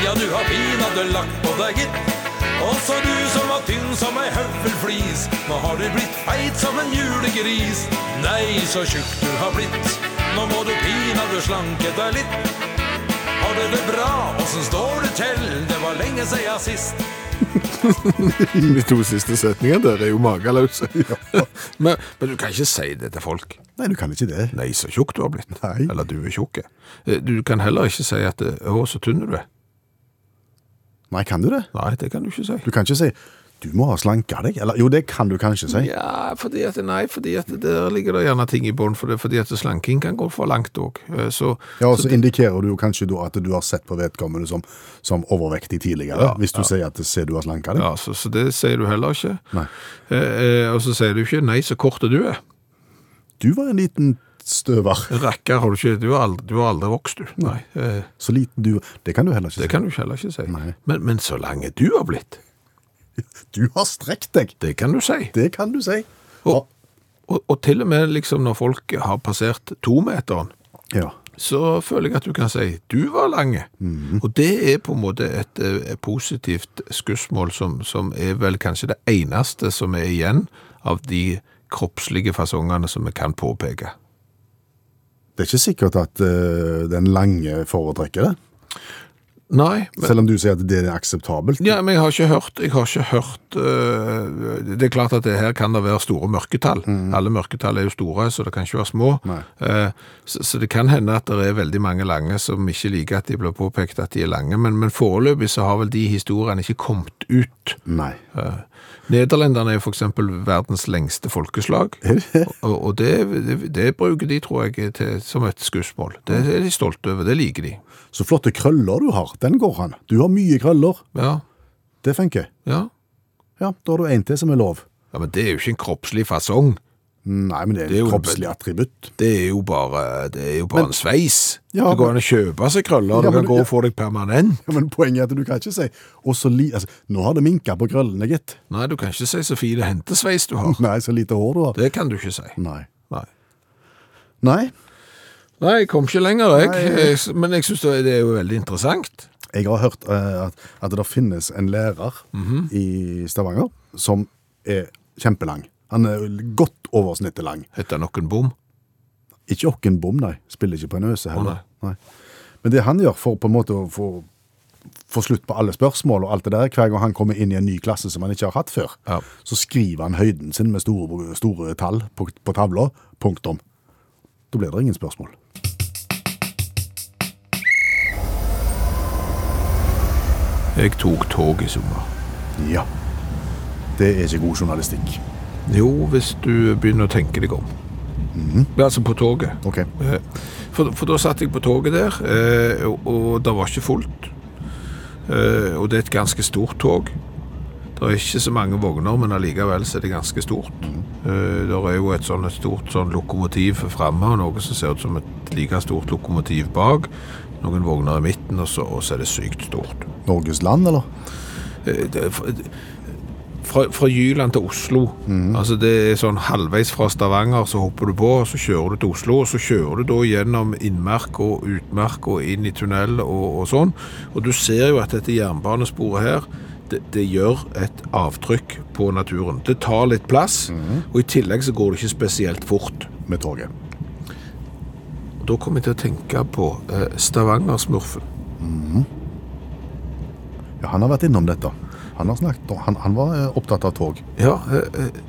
Speaker 7: Ja, du har pinadø lagt på deg, gitt. Også du som var tynn som ei høvelflis. Nå har du blitt feit som en julegris. Nei, så tjukk du har blitt. Nå må du pinadø slanke deg litt. Har du det bra? Åssen står det til? Det var lenge sia sist.
Speaker 3: De to siste setningene der er jo mageløse. men, men du kan ikke si det til folk.
Speaker 2: Nei, du kan ikke det.
Speaker 3: Nei, så tjukk du har blitt.
Speaker 2: Nei.
Speaker 3: Eller du er tjukk. Eh, Du kan heller ikke si at eh, Å, så tynn du er.
Speaker 2: Nei, kan du det?
Speaker 3: Nei, det kan du ikke si.
Speaker 2: Du kan ikke si 'du må ha slanka deg'. Eller jo, det kan du kanskje si.
Speaker 3: Ja, fordi at, nei, fordi at der ligger det gjerne ting i bånd, for det- fordi at slanking kan gå for langt òg. Så
Speaker 2: Ja, og så indikerer du jo kanskje da at du har sett på vedkommende som, som overvektig tidligere,
Speaker 3: Ja,
Speaker 2: hvis du sier at det ser du har slanka deg.
Speaker 3: Ja, så, så det sier du heller ikke.
Speaker 2: Nei.
Speaker 3: Eh, eh, og så sier du ikke 'nei, så kort er du er'.
Speaker 2: Du var en liten støver.
Speaker 3: Rakker har du ikke. Du har aldri, du har aldri vokst, du. Nei. Eh,
Speaker 2: Så liten du Det kan du heller ikke
Speaker 3: det
Speaker 2: si.
Speaker 3: kan du heller ikke si.
Speaker 2: Nei.
Speaker 3: Men, men så lang er du har blitt.
Speaker 2: Du har strekt deg!
Speaker 3: Det kan du si.
Speaker 2: Det kan du si.
Speaker 3: Og, og, og til og med liksom når folk har passert tometeren,
Speaker 2: Ja.
Speaker 3: så føler jeg at du kan si du var lange. Og det er på en måte et eh, positivt skussmål som, som er vel kanskje det eneste som er igjen av de kroppslige fasongene som vi kan påpeke.
Speaker 2: Det er ikke sikkert at eh, den lange foretrekker det.
Speaker 3: Nei, men,
Speaker 2: Selv om du sier at det er akseptabelt.
Speaker 3: ja, men jeg har ikke hørt, jeg har ikke hørt eh, Det er klart at det her kan det være store mørketall. Alle mørketall er jo store, så det kan ikke være små.
Speaker 2: Nei.
Speaker 3: Eh, så, så det kan hende at det er veldig mange lange som ikke liker at de blir påpekt at de er lange, men, men foreløpig så har vel de historiene ikke kommet ut.
Speaker 2: Nei.
Speaker 3: Eh, Nederlenderne er jo for eksempel verdens lengste folkeslag, og, og det, det, det bruker de, tror jeg, til, som et skussmål. Det er de stolte over, det liker de.
Speaker 2: Så flotte krøller du har. Den går an. Du har mye krøller.
Speaker 3: Ja,
Speaker 2: Det funker.
Speaker 3: ja.
Speaker 2: Ja, da har du en til som er lov.
Speaker 3: Ja, men det er jo ikke en kroppslig fasong.
Speaker 2: Nei, men det er
Speaker 3: Det er
Speaker 2: et
Speaker 3: jo-
Speaker 2: kroppslig attributt.
Speaker 3: Det er jo bare, det er jo bare en sveis.
Speaker 2: Ja,
Speaker 3: det går an å kjøpe seg krøller,
Speaker 2: Ja,
Speaker 3: du
Speaker 2: men-
Speaker 3: kan gå
Speaker 2: ja.
Speaker 3: og få deg permanent.
Speaker 2: Ja, men poenget er at du kan ikke si og så li altså, Nå har det minka på krøllene, gitt.
Speaker 3: Nei, du kan ikke si så fine hentesveis du har.
Speaker 2: Nei, så lite hår du har.
Speaker 3: Det kan du ikke si.
Speaker 2: Nei.
Speaker 3: Nei.
Speaker 2: Nei,
Speaker 3: Nei, jeg kom ikke lenger, jeg.
Speaker 2: Nei.
Speaker 3: Jeg- Men jeg synes det det er jo veldig interessant.
Speaker 2: jeg har hørt eh, at, at det finnes en lærer
Speaker 3: Mhm.
Speaker 2: i Stavanger som er kjempelang. Han er godt over snittet lang.
Speaker 3: Heter noen bom?
Speaker 2: Ikke Okkenbom, nei. Spiller ikke på en øse heller.
Speaker 3: Å,
Speaker 2: nei. Men det han gjør for på en måte å få, få slutt på alle spørsmål og alt det der, hver gang han kommer inn i en ny klasse som han ikke har hatt før,
Speaker 3: Ja.
Speaker 2: så skriver han høyden sin med store, store tall på, på tavla. Punktum. Da blir det ingen spørsmål.
Speaker 3: Jeg tok tog i sommer.
Speaker 2: Ja. Det er ikke god journalistikk.
Speaker 3: Jo, hvis du begynner å tenke deg om.
Speaker 2: Mhm.
Speaker 3: Altså på toget.
Speaker 2: OK.
Speaker 3: Eh, For, for da satt jeg på toget der, eh, og, og det var ikke fullt. Eh, Og det er et ganske stort tog. Det er ikke så mange vogner, men allikevel så er det ganske stort. Det er jo et sånn et stort sånn lokomotiv framme, og noe som ser ut som et like stort lokomotiv bak. Noen vogner i midten, og så, og så er det sykt stort.
Speaker 2: Norges land, eller?
Speaker 3: Eh, det- fra- fra, fra Jyland til Oslo. Altså det er sånn halvveis fra Stavanger, så hopper du på, og så kjører du til Oslo, og så kjører du da gjennom innmark og utmark og inn i tunnel og, og sånn. Og du ser jo at dette jernbanesporet her, det, det gjør et avtrykk på naturen. Det tar litt plass, og i tillegg så går det ikke spesielt fort.
Speaker 2: Med toget.
Speaker 3: Og da kom jeg til å tenke på eh, Stavanger-smurfen.
Speaker 2: Ja, han har vært innom dette. Han, har snakket, om- han, han var eh, opptatt av tog.
Speaker 3: Ja, eh, eh,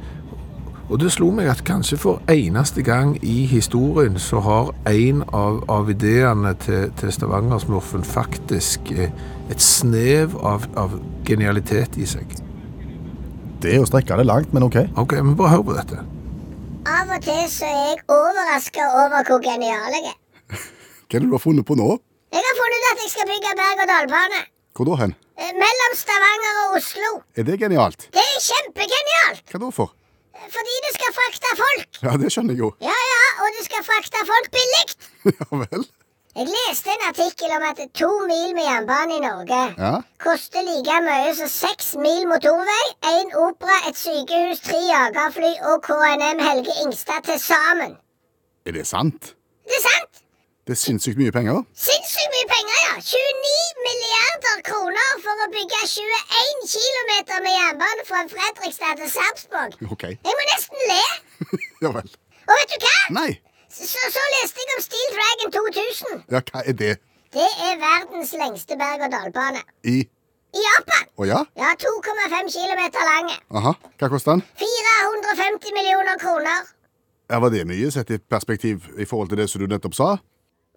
Speaker 3: og det slo meg at kanskje for eneste gang i historien så har en av, av ideene til, til Stavanger-smurfen faktisk eh, et snev av, av genialitet i seg.
Speaker 2: Det er å strekke det langt, men OK.
Speaker 3: Ok, men bare hør på dette.
Speaker 4: Av og til så er jeg overraska over hvor genial jeg er.
Speaker 2: Hva er det du har funnet på nå?
Speaker 4: Jeg har funnet ut at jeg skal bygge berg-og-dal-bane.
Speaker 2: Hvor da hen?
Speaker 4: Eh, Mellom Stavanger og Oslo.
Speaker 2: Er det genialt?
Speaker 4: Det er kjempegenialt! Eh,
Speaker 2: Hva da for?
Speaker 4: Fordi du skal frakte folk.
Speaker 2: Ja, det skjønner jeg jo.
Speaker 4: Ja, ja, og du skal frakte folk billig.
Speaker 2: Ja vel.
Speaker 4: Jeg leste en artikkel om at to mil med jernbane i Norge
Speaker 2: Ja.
Speaker 4: koster like mye som seks mil motorvei, én opera, et sykehus, tre jagerfly og KNM Helge Ingstad til sammen.
Speaker 2: Er det sant?
Speaker 4: Det er sant!
Speaker 2: Det er sinnssykt mye penger.
Speaker 4: Sinnssykt mye penger, ja! 29 milliarder kroner for å bygge 21 kilometer med jernbane fra Fredrikstad til Sarpsborg.
Speaker 2: OK.
Speaker 4: Jeg må nesten le!
Speaker 2: Ja vel.
Speaker 4: Og vet du hva?
Speaker 2: Nei.
Speaker 4: Så, så leste jeg om Steel Dragon 2000.
Speaker 2: Ja, hva er det
Speaker 4: Det er verdens lengste berg-og-dal-bane.
Speaker 2: i
Speaker 4: I Japan.
Speaker 2: Å ja?
Speaker 4: Ja, 2,5 km lange.
Speaker 2: Aha. Hva koster den?
Speaker 4: 450 millioner kroner.
Speaker 2: Ja, Var det mye sett i perspektiv i forhold til det som du nettopp sa?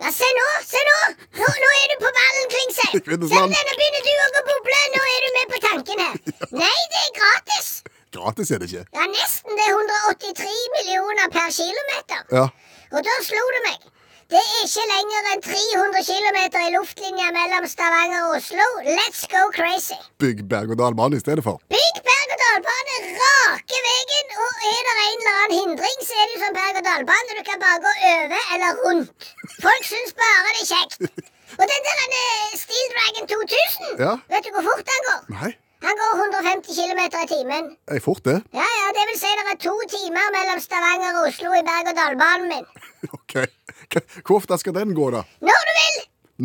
Speaker 4: Ja, se nå! Se nå! Nå, nå er du på ballen, Klingsheim. Se om
Speaker 2: Kvinnesland.
Speaker 4: denne begynner du å gå boble. Nå er du med på tanken her. Nei, det er gratis.
Speaker 2: Gratis er det ikke.
Speaker 4: Ja, nesten. Det er 183 millioner per kilometer.
Speaker 2: Ja.
Speaker 4: Og da slo det meg. Det er ikke lenger enn 300 km i luftlinja mellom Stavanger og Oslo. Let's go crazy.
Speaker 2: Bygg berg-og-dal-bane i stedet for.
Speaker 4: Bygg berg-og-dal-bane rake veien, og er det en eller annen hindring, så er det jo sånn berg-og-dal-bane. Du kan bare gå over eller rundt. Folk syns bare det er kjekt. Og den der han, eh, Steel Dragon 2000,
Speaker 2: Ja.
Speaker 4: vet du hvor fort han går?
Speaker 2: Nei,
Speaker 4: Han går 150 km i timen.
Speaker 2: jeg er fort det.
Speaker 4: Ja, ja, det vil si det er to timer mellom Stavanger og Oslo i berg-og-dal-banen min.
Speaker 2: Ok. Hva- Hvor ofte skal den gå, da?
Speaker 4: Når du vil!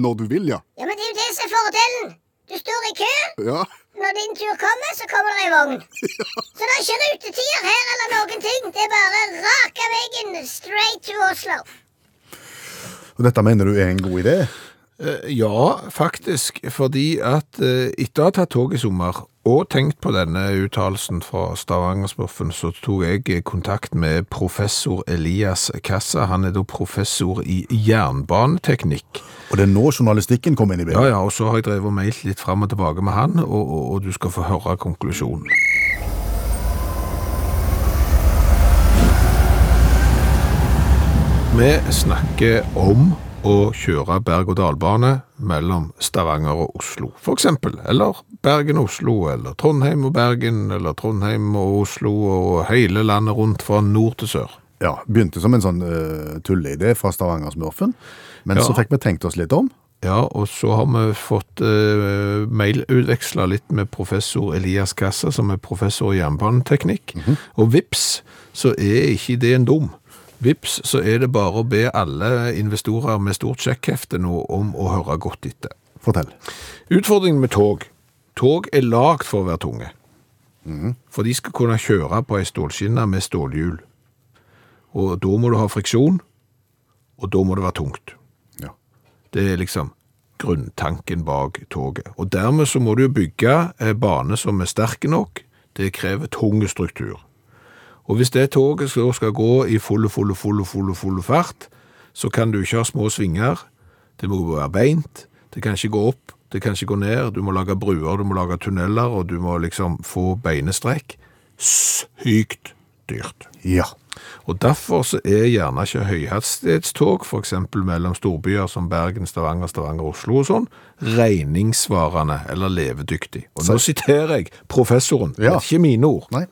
Speaker 2: Når du vil, ja.
Speaker 4: Ja, men det er jo det som er fordelen. Du står i kø.
Speaker 2: Ja,
Speaker 4: Når din tur kommer, så kommer det ei vogn. Så det er ikke rutetider her eller noen ting. Det er bare raka veien straight to Oslo.
Speaker 2: og Dette mener du er en god idé?
Speaker 3: Eh, Ja, faktisk, fordi at eh, etter å ha tatt tog i sommer, og tenkt på denne uttalelsen fra Stavangersproffen, så tok jeg eh, kontakt med professor Elias Kassa. Han er da professor i jernbaneteknikk.
Speaker 2: Og det er nå journalistikken kommer inn i
Speaker 3: Ja,
Speaker 2: bildet.
Speaker 3: ja, og så har jeg drevet og mailt litt fram og tilbake med han, og, og, og du skal få høre konklusjonen. Vi snakker om å kjøre berg-og-dal-bane mellom Stavanger og Oslo, for eksempel. Eller Bergen og Oslo, eller Trondheim og Bergen, eller Trondheim og Oslo, og hele landet rundt fra nord til sør.
Speaker 2: Ja, Begynte som en sånn eh, tulleidé fra Stavanger-smurfen, men
Speaker 3: Ja.
Speaker 2: så fikk vi tenkt oss litt om.
Speaker 3: Ja, og så har vi fått eh, mailutveksla litt med professor Elias Kassa, som er professor i jernbaneteknikk. Og vips, så er ikke det en dum. Vips, så er det bare å be alle investorer med stort sjekkhefte nå om å høre godt etter.
Speaker 2: Fortell.
Speaker 3: Utfordringen med tog. Tog er lagd for å være tunge. For de skal kunne kjøre på ei stålskinne med stålhjul. Og da må du ha friksjon, og da må det være tungt.
Speaker 2: Ja.
Speaker 3: Det er liksom grunntanken bak toget. Og dermed så må du jo bygge eh, bane som er sterke nok. Det krever tung struktur. Og hvis det toget så skal gå i full, full, full, full, full fart, så kan du ikke ha små svinger. Det må være beint. Det kan ikke gå opp. Det kan ikke gå ned. Du må lage bruer, du må lage tunneler, og du må liksom få beinestrekk. Sykt dyrt.
Speaker 2: ja.
Speaker 3: Og derfor så er gjerne ikke høyhastighetstog, f.eks. mellom storbyer som Bergen, Stavanger, Stavanger, Oslo og sånn, regningssvarende eller levedyktig. Og nå siterer jeg professoren, det
Speaker 2: Ja.
Speaker 3: er ikke mine ord.
Speaker 2: Nei.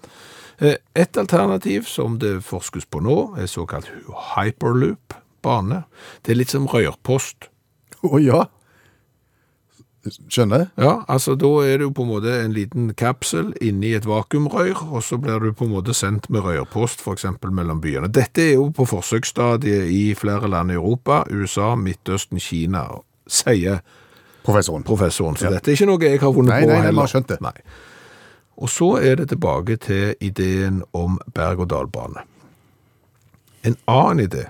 Speaker 3: Eh, Et alternativ som det forskes på nå, er såkalt hyperloop-bane. Det er litt som rørpost.
Speaker 2: Å ja. Skjønner?
Speaker 3: Ja, altså da er du på en måte en liten kapsel inni et vakuumrør, og så blir du på en måte sendt med rørpost for eksempel mellom byene. Dette er jo på forsøksstadiet i flere land i Europa, USA, Midtøsten, Kina, sier
Speaker 2: Professoren.
Speaker 3: professoren. Så dette er ikke noe jeg har vunnet
Speaker 2: Nei,
Speaker 3: på
Speaker 2: nei, nei, vi
Speaker 3: heller.
Speaker 2: har skjønt det.
Speaker 3: Nei. Og så er det tilbake til ideen om berg-og-dal-bane. En annen idé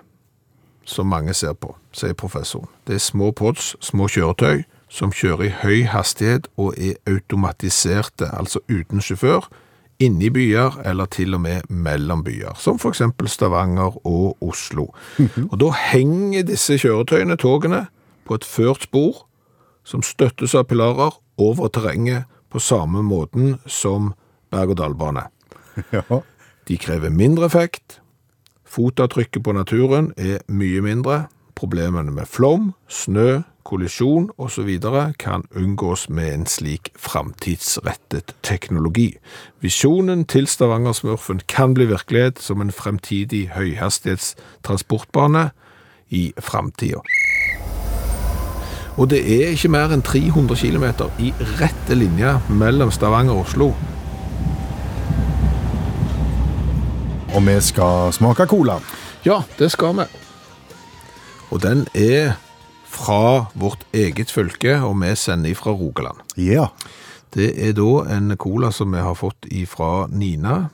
Speaker 3: som mange ser på, sier professoren, det er små pods, små kjøretøy, som kjører i høy hastighet og er automatiserte, altså uten sjåfør, inni byer eller til og med mellom byer, som for eksempel Stavanger og Oslo. Og da henger disse kjøretøyene, togene, på et ført spor, som støttes av pilarer over terrenget på samme måten som berg-og-dal-bane.
Speaker 2: Ja.
Speaker 3: De krever mindre effekt, fotavtrykket på naturen er mye mindre, problemene med flom, snø, kollisjon osv. kan unngås med en slik framtidsrettet teknologi. Visjonen til Stavanger-smurfen kan bli virkelighet som en fremtidig høyhastighetstransportbane i framtida. Og det er ikke mer enn 300 km i rette linje mellom Stavanger og Oslo.
Speaker 2: Og vi skal smake cola.
Speaker 3: Ja, det skal vi. Og den er fra vårt eget fylke, og vi sender fra Rogaland.
Speaker 2: Ja.
Speaker 3: Det er da en cola som vi har fått ifra Nina.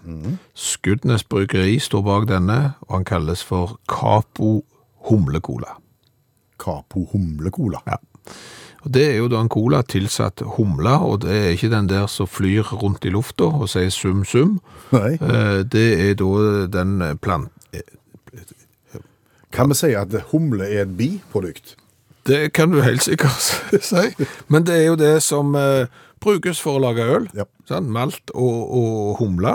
Speaker 3: Skuddnes Bryggeri står bak denne, og han kalles for Capo Humlecola.
Speaker 2: Capo humlecola.
Speaker 3: Ja. Og Det er jo da en cola tilsatt humle, og det er ikke den der som flyr rundt i lufta og sier sum, sum.
Speaker 2: Nei.
Speaker 3: Eh, Det er da den plant...
Speaker 2: Kan vi si at humle er et biprodukt?
Speaker 3: Det kan du helt sikkert si, men det er jo det som eh, brukes for å lage øl.
Speaker 2: Ja.
Speaker 3: sant? Malt og, og humle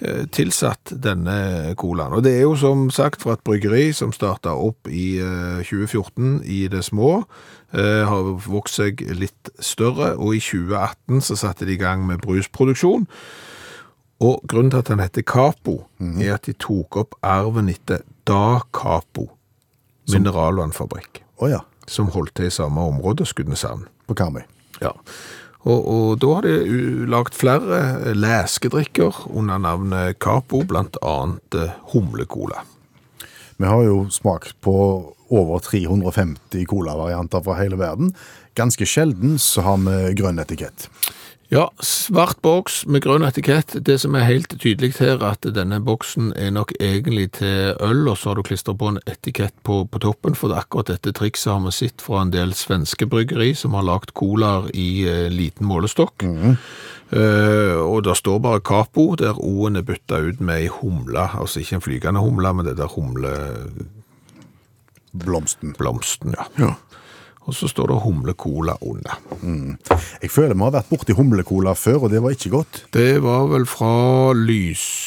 Speaker 3: eh, tilsatt denne colaen. Og det er jo som sagt fra et bryggeri som starta opp i eh, 2014 i det små, eh, har vokst seg litt større, og i 2018 så satte de i gang med brusproduksjon. Og grunnen til at den heter Capo, er at de tok opp arven etter Da Capo mineralvannfabrikk,
Speaker 2: Å ja,
Speaker 3: som holdt til i samme område, Skudeneshavn.
Speaker 2: på Karmøy.
Speaker 3: Ja. Og, og da har de u- lagt flere leskedrikker under navnet Capo, blant annet eh, humlecola.
Speaker 2: Vi har jo smakt på over 350 colavarianter fra hele verden. Ganske sjelden så har vi grønn etikett.
Speaker 3: Ja, svart boks med grønn etikett. Det som er helt tydelig her, er at denne boksen er nok egentlig til øl, og så har du klistra på en etikett på, på toppen, for det er akkurat dette trikset har vi sett fra en del svenske bryggeri som har lagd colaer i eh, liten målestokk. Eh, og der står bare Capo, der O-en er bytta ut med ei humle. Altså ikke en flygende humle, men det der humleblomsten,
Speaker 2: Blomsten.
Speaker 3: ja. Og så står det humlecola under.
Speaker 2: Jeg føler vi har vært borti humlecola før, og det var ikke godt.
Speaker 3: Det var vel fra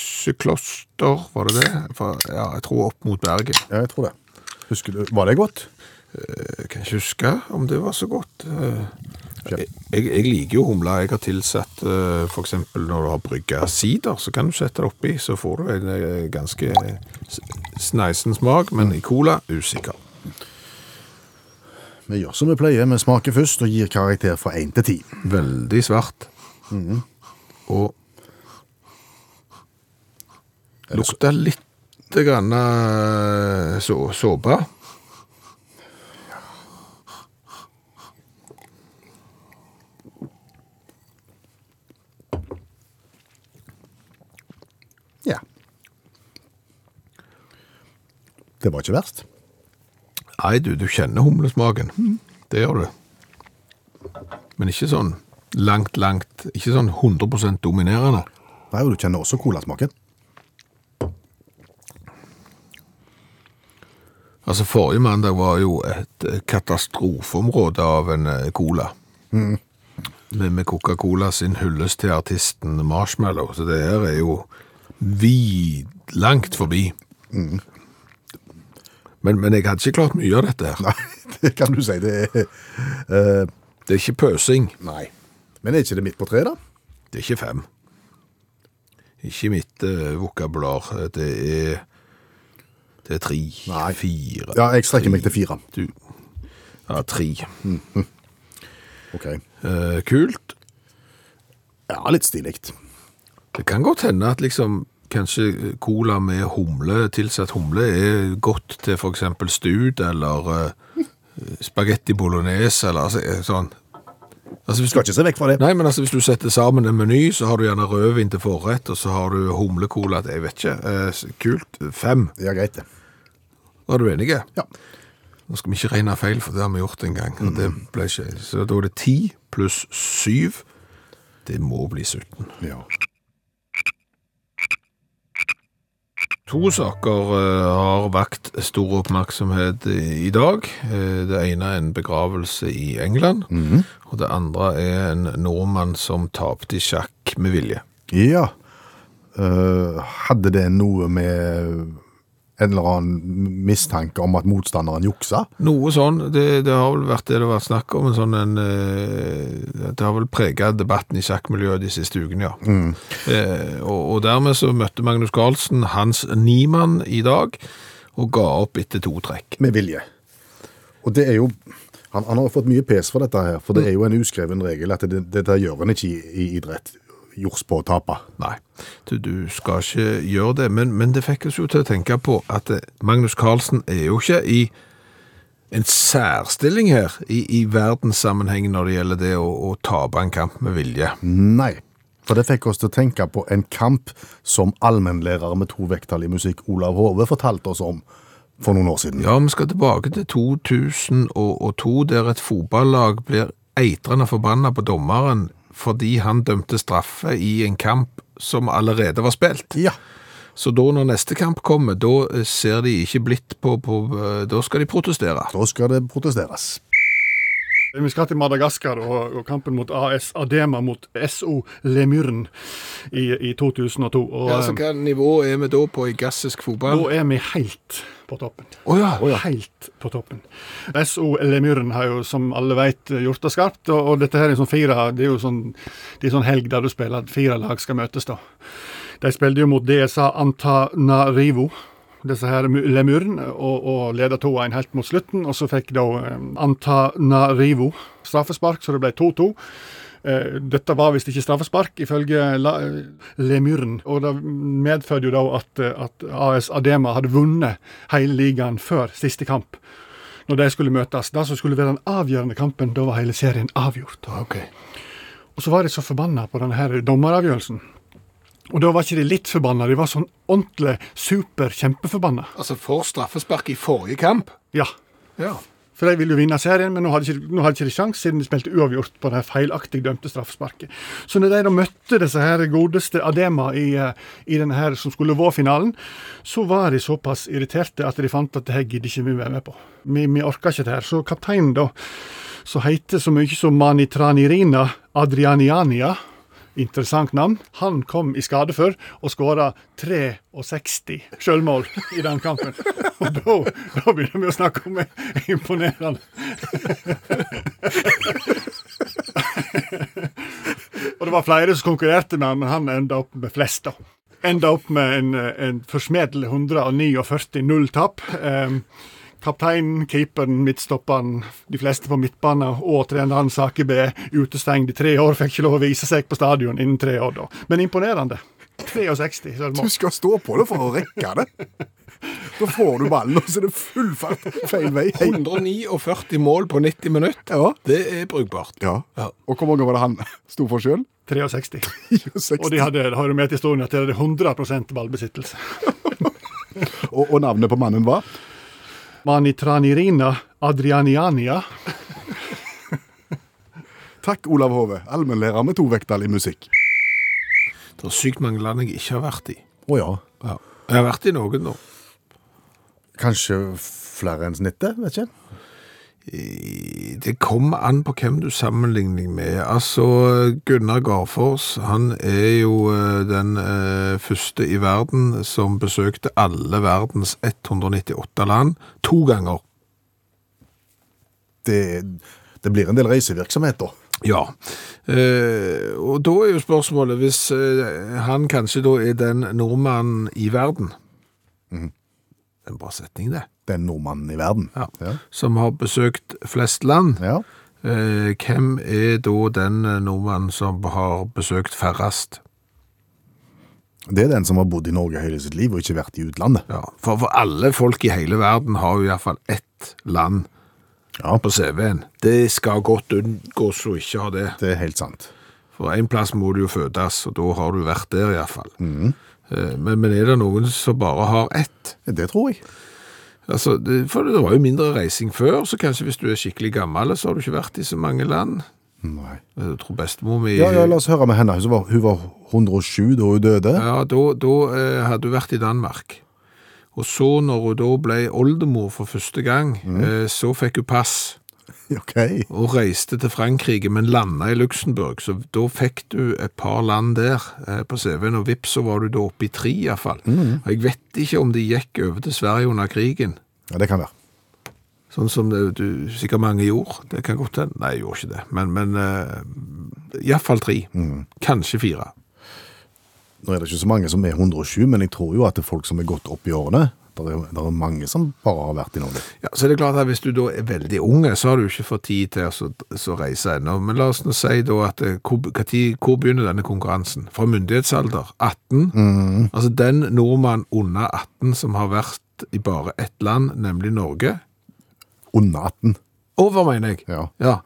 Speaker 3: Lysekloster, var det det? Fra, ja, jeg tror opp mot Bergen.
Speaker 2: Ja, jeg tror det. Husker du, Var det godt?
Speaker 3: Jeg kan ikke huske om det var så godt. Eh,
Speaker 2: Kjempe.
Speaker 3: Jeg, jeg liker jo humla. Jeg har tilsatt eh, for eksempel når du har brygga sider, så kan du sette det oppi, så får du en eh, ganske s- sneisen smak, men i cola usikker.
Speaker 2: Vi gjør som vi pleier, vi smaker først og gir karakter fra én til ti.
Speaker 3: Veldig svart. Og lukter litt grann eh, så, såpe.
Speaker 2: Ja. Det var ikke verst.
Speaker 3: Nei, du, du kjenner humlesmaken. Det gjør du. Men ikke sånn langt, langt Ikke sånn 100 dominerende.
Speaker 2: Nei, og du kjenner også colasmaken.
Speaker 3: Altså, Forrige mandag var jo et eh, katastrofeområde av en eh, cola. Med, med Coca-Cola sin hyllest til artisten Marshmallow. Så det her er jo vid, langt forbi. Men, men jeg hadde ikke klart mye av dette her.
Speaker 2: Nei, det kan du si. Det er, eh,
Speaker 3: Det er ikke pøsing.
Speaker 2: nei. Men er ikke det midt på treet, da?
Speaker 3: Det er ikke fem. Ikke mitt eh, vokabular. Det er Det er tre,
Speaker 2: Nei.
Speaker 3: fire
Speaker 2: Ja, jeg strekker meg til fire.
Speaker 3: Du Ja, tre.
Speaker 2: Ok.
Speaker 3: Eh, kult.
Speaker 2: Ja, litt stilig.
Speaker 3: Det kan godt hende at liksom Kanskje cola med humle, tilsatt humle, er godt til f.eks. stud eller eh, spagetti bolognese eller altså, eh, sånn. Altså, hvis du
Speaker 2: Skal ikke se vekk fra det.
Speaker 3: Nei, men altså hvis du setter sammen en meny, så har du gjerne rødvin til forrett, og så har du humlekola til, jeg vet ikke, eh, s- kult, fem.
Speaker 2: Ja, greit det.
Speaker 3: Var du enige?
Speaker 2: Ja.
Speaker 3: Nå skal vi ikke regne feil, for det har vi gjort en gang, og det ble ikke. Så da er det ti pluss syv. Det må bli 17.
Speaker 2: ja.
Speaker 3: To saker eh, har vakt stor oppmerksomhet i i dag. Eh, Det ene er en begravelse i England, og det andre er en nordmann som tapte i sjakk med vilje.
Speaker 2: Ja. Eh, hadde det noe med en eller annen mistanke om at motstanderen juksa?
Speaker 3: Noe sånn. Det, det har vel vært det det har vært snakk om. En sånn en, eh, det har vel prega debatten i sjakkmiljøet de siste ukene, ja. Eh, og, og dermed så møtte Magnus Carlsen Hans Niemann i dag, og ga opp etter to trekk.
Speaker 2: Med vilje. Og det er jo Han, han har jo fått mye pes for dette her, for det er jo en uskreven regel at det, dette gjør en ikke i, i idrett. Jords på å tape.
Speaker 3: Nei, du, du skal ikke gjøre det. Men, men det fikk oss jo til å tenke på at eh, Magnus Carlsen er jo ikke i en særstilling her i, i verdenssammenheng når det gjelder det å, å tape en kamp med vilje.
Speaker 2: Nei. For det fikk oss til å tenke på en kamp som allmennlærer med to vekttall i musikk, Olav Hove, fortalte oss om for noen år siden.
Speaker 3: Ja, vi skal tilbake til 2002, der et fotballag blir eitrende forbanna på dommeren fordi han dømte straffe i en kamp som allerede var spilt.
Speaker 2: Ja.
Speaker 3: Så da når neste kamp kommer, da eh, ser de ikke blitt på, på eh, Da skal de protestere.
Speaker 2: Da skal det protesteres.
Speaker 5: Vi skal til Madagaskar og, og kampen mot AS Adema mot SO Lemyrn i, i 2002. Og,
Speaker 3: Ja, så altså,
Speaker 5: eh,
Speaker 3: Hva nivå er vi da på i gassisk fotball?
Speaker 5: da er vi helt på toppen.
Speaker 3: Å ja, å ja.
Speaker 5: Helt på toppen. SO Lemyrn har jo, som alle vet, gjort det skarpt. Og, og dette her er sånn fire Det er jo sånn, det er sånn helg der du spiller at fire lag skal møtes, da. De spilte jo mot DSA Antanarivo, disse her mu- Lemurn, og, og leda 2-1 helt mot slutten. Og så fikk da eh, Antanarivo straffespark, så det ble 2-2. Eh, Dette var visst ikke straffespark, ifølge la- eh, Lemurn. Og det medførte jo da at, eh, at AS Adema hadde vunnet hele ligaen før siste kamp. Når de skulle møtes. Det som skulle være den avgjørende kampen, da var hele serien avgjort. Og så var de så forbanna på denne her dommeravgjørelsen. Og da var ikke de litt forbanna, de var sånn ordentlig super-kjempeforbanna.
Speaker 3: Altså for straffespark i forrige kamp?
Speaker 5: Ja.
Speaker 3: Ja.
Speaker 5: For de ville jo vinne serien, men nå hadde ikke, nå hadde ikke de sjans, siden de spilte uavgjort på det feilaktig dømte straffesparket. Så når de da møtte disse her godeste Adema i, eh, i denne her som skulle være finalen, så var de såpass irriterte at de fant at det her gidder ikke vi være med på. Vi, vi orker ikke det her. Så kapteinen, da, som heter så mye som Manitranirina Adrianiania Interessant navn. Han kom i skade for og skåra 63 sjølmål i den kampen. Og da, da begynner vi å snakke om imponerende. og det var flere som konkurrerte med han, men han enda opp med flest, da. Enda opp med en, en forsmedelig 149 nulltap. Um, Kapteinen, keeperen, midtstopperen, de fleste på midtbanen og treneren Sakebø utestengt i tre år. Fikk ikke lov å vise seg på stadion innen tre år, da. Men imponerende. 63
Speaker 2: Du
Speaker 5: selvmål.
Speaker 2: skal stå på det for å rekke det. Da får du ballen, og så er det full fart feil vei. Hei.
Speaker 3: 149 mål på 90 minutter.
Speaker 2: Ja.
Speaker 3: Det er brukbart.
Speaker 2: Ja. Og hvor mange var det han sto for sjøl?
Speaker 5: 63. Og
Speaker 2: 60.
Speaker 5: de hadde, det har jo med til historien at de hadde 100 ballbesittelse.
Speaker 2: Og, og navnet på mannen var?
Speaker 5: Manitranirina Adrianiania.
Speaker 2: Takk, Olav Hove, allmennlærer med tovekttall i musikk.
Speaker 3: Det er sykt mange land jeg ikke har vært i.
Speaker 2: Å ja.
Speaker 3: Jeg har vært i noen, da.
Speaker 2: Kanskje flere enn snittet? Vet ikke.
Speaker 3: I- Det kommer an på hvem du sammenligner med. Altså, Gunnar Garfors, han er jo eh, den eh, første i verden som besøkte alle verdens 198 land to ganger.
Speaker 2: Det, det blir en del reisevirksomhet, da.
Speaker 3: Ja, eh, og da er jo spørsmålet hvis eh, han kanskje da er den nordmannen i verden. Mhm. En bra setning det.
Speaker 2: Den nordmannen i verden.
Speaker 3: Ja.
Speaker 2: Ja.
Speaker 3: Som har besøkt flest land.
Speaker 2: Ja.
Speaker 3: Eh, hvem er da den eh, nordmannen som har besøkt færrest?
Speaker 2: Det er den som har bodd i Norge hele sitt liv og ikke vært i utlandet.
Speaker 3: Ja, for, for alle folk i hele verden har jo i hvert fall ett land
Speaker 2: Ja.
Speaker 3: på CV-en. Det skal godt unngås å ikke ha det.
Speaker 2: Det er helt sant.
Speaker 3: For en plass må du jo fødes, og da har du vært der i hvert fall.
Speaker 2: Mhm.
Speaker 3: Eh, Men, men er det noen som bare har ett?
Speaker 2: Det tror jeg.
Speaker 3: Altså, det, for det var jo mindre reising før, så kanskje hvis du er skikkelig gammel, så har du ikke vært i så mange land. Eh,
Speaker 2: Nei.
Speaker 3: Jeg tror bestemor mi...
Speaker 2: Ja, ja, La oss høre med henne. Hun var, hun var 107 da hun døde.
Speaker 3: Ja, da, da eh, hadde hun vært i Danmark. Og så når hun da ble oldemor for første gang, eh, så fikk hun pass.
Speaker 2: OK.
Speaker 3: og reiste til Frankrike, men landa i Luxembourg. Så da fikk du et par land der eh, på CV-en, og vips, så var du da oppe i tre, iallfall. Og Jeg vet ikke om de gikk over til Sverige under krigen,
Speaker 2: Ja, Det kan være.
Speaker 3: sånn som det, du, sikkert mange gjorde. Det kan godt hende. Nei, jeg gjorde ikke det, men, men eh, iallfall tre. Kanskje fire.
Speaker 2: Nå er det ikke så mange som er 107, men jeg tror jo at det er folk som er godt opp i årene. Det er, der er mange som bare har vært i Norge.
Speaker 3: Ja, så er det klart at Hvis du da er veldig unge, så har du ikke fått tid til å så- så reise ennå. Men la oss nå si da at eh, hvor, hva tid, hvor begynner denne konkurransen? Fra myndighetsalder? 18?
Speaker 2: Mm.
Speaker 3: Altså den nordmann under 18 som har vært i bare ett land, nemlig Norge.
Speaker 2: Under 18.
Speaker 3: Over, mener jeg.
Speaker 2: Ja.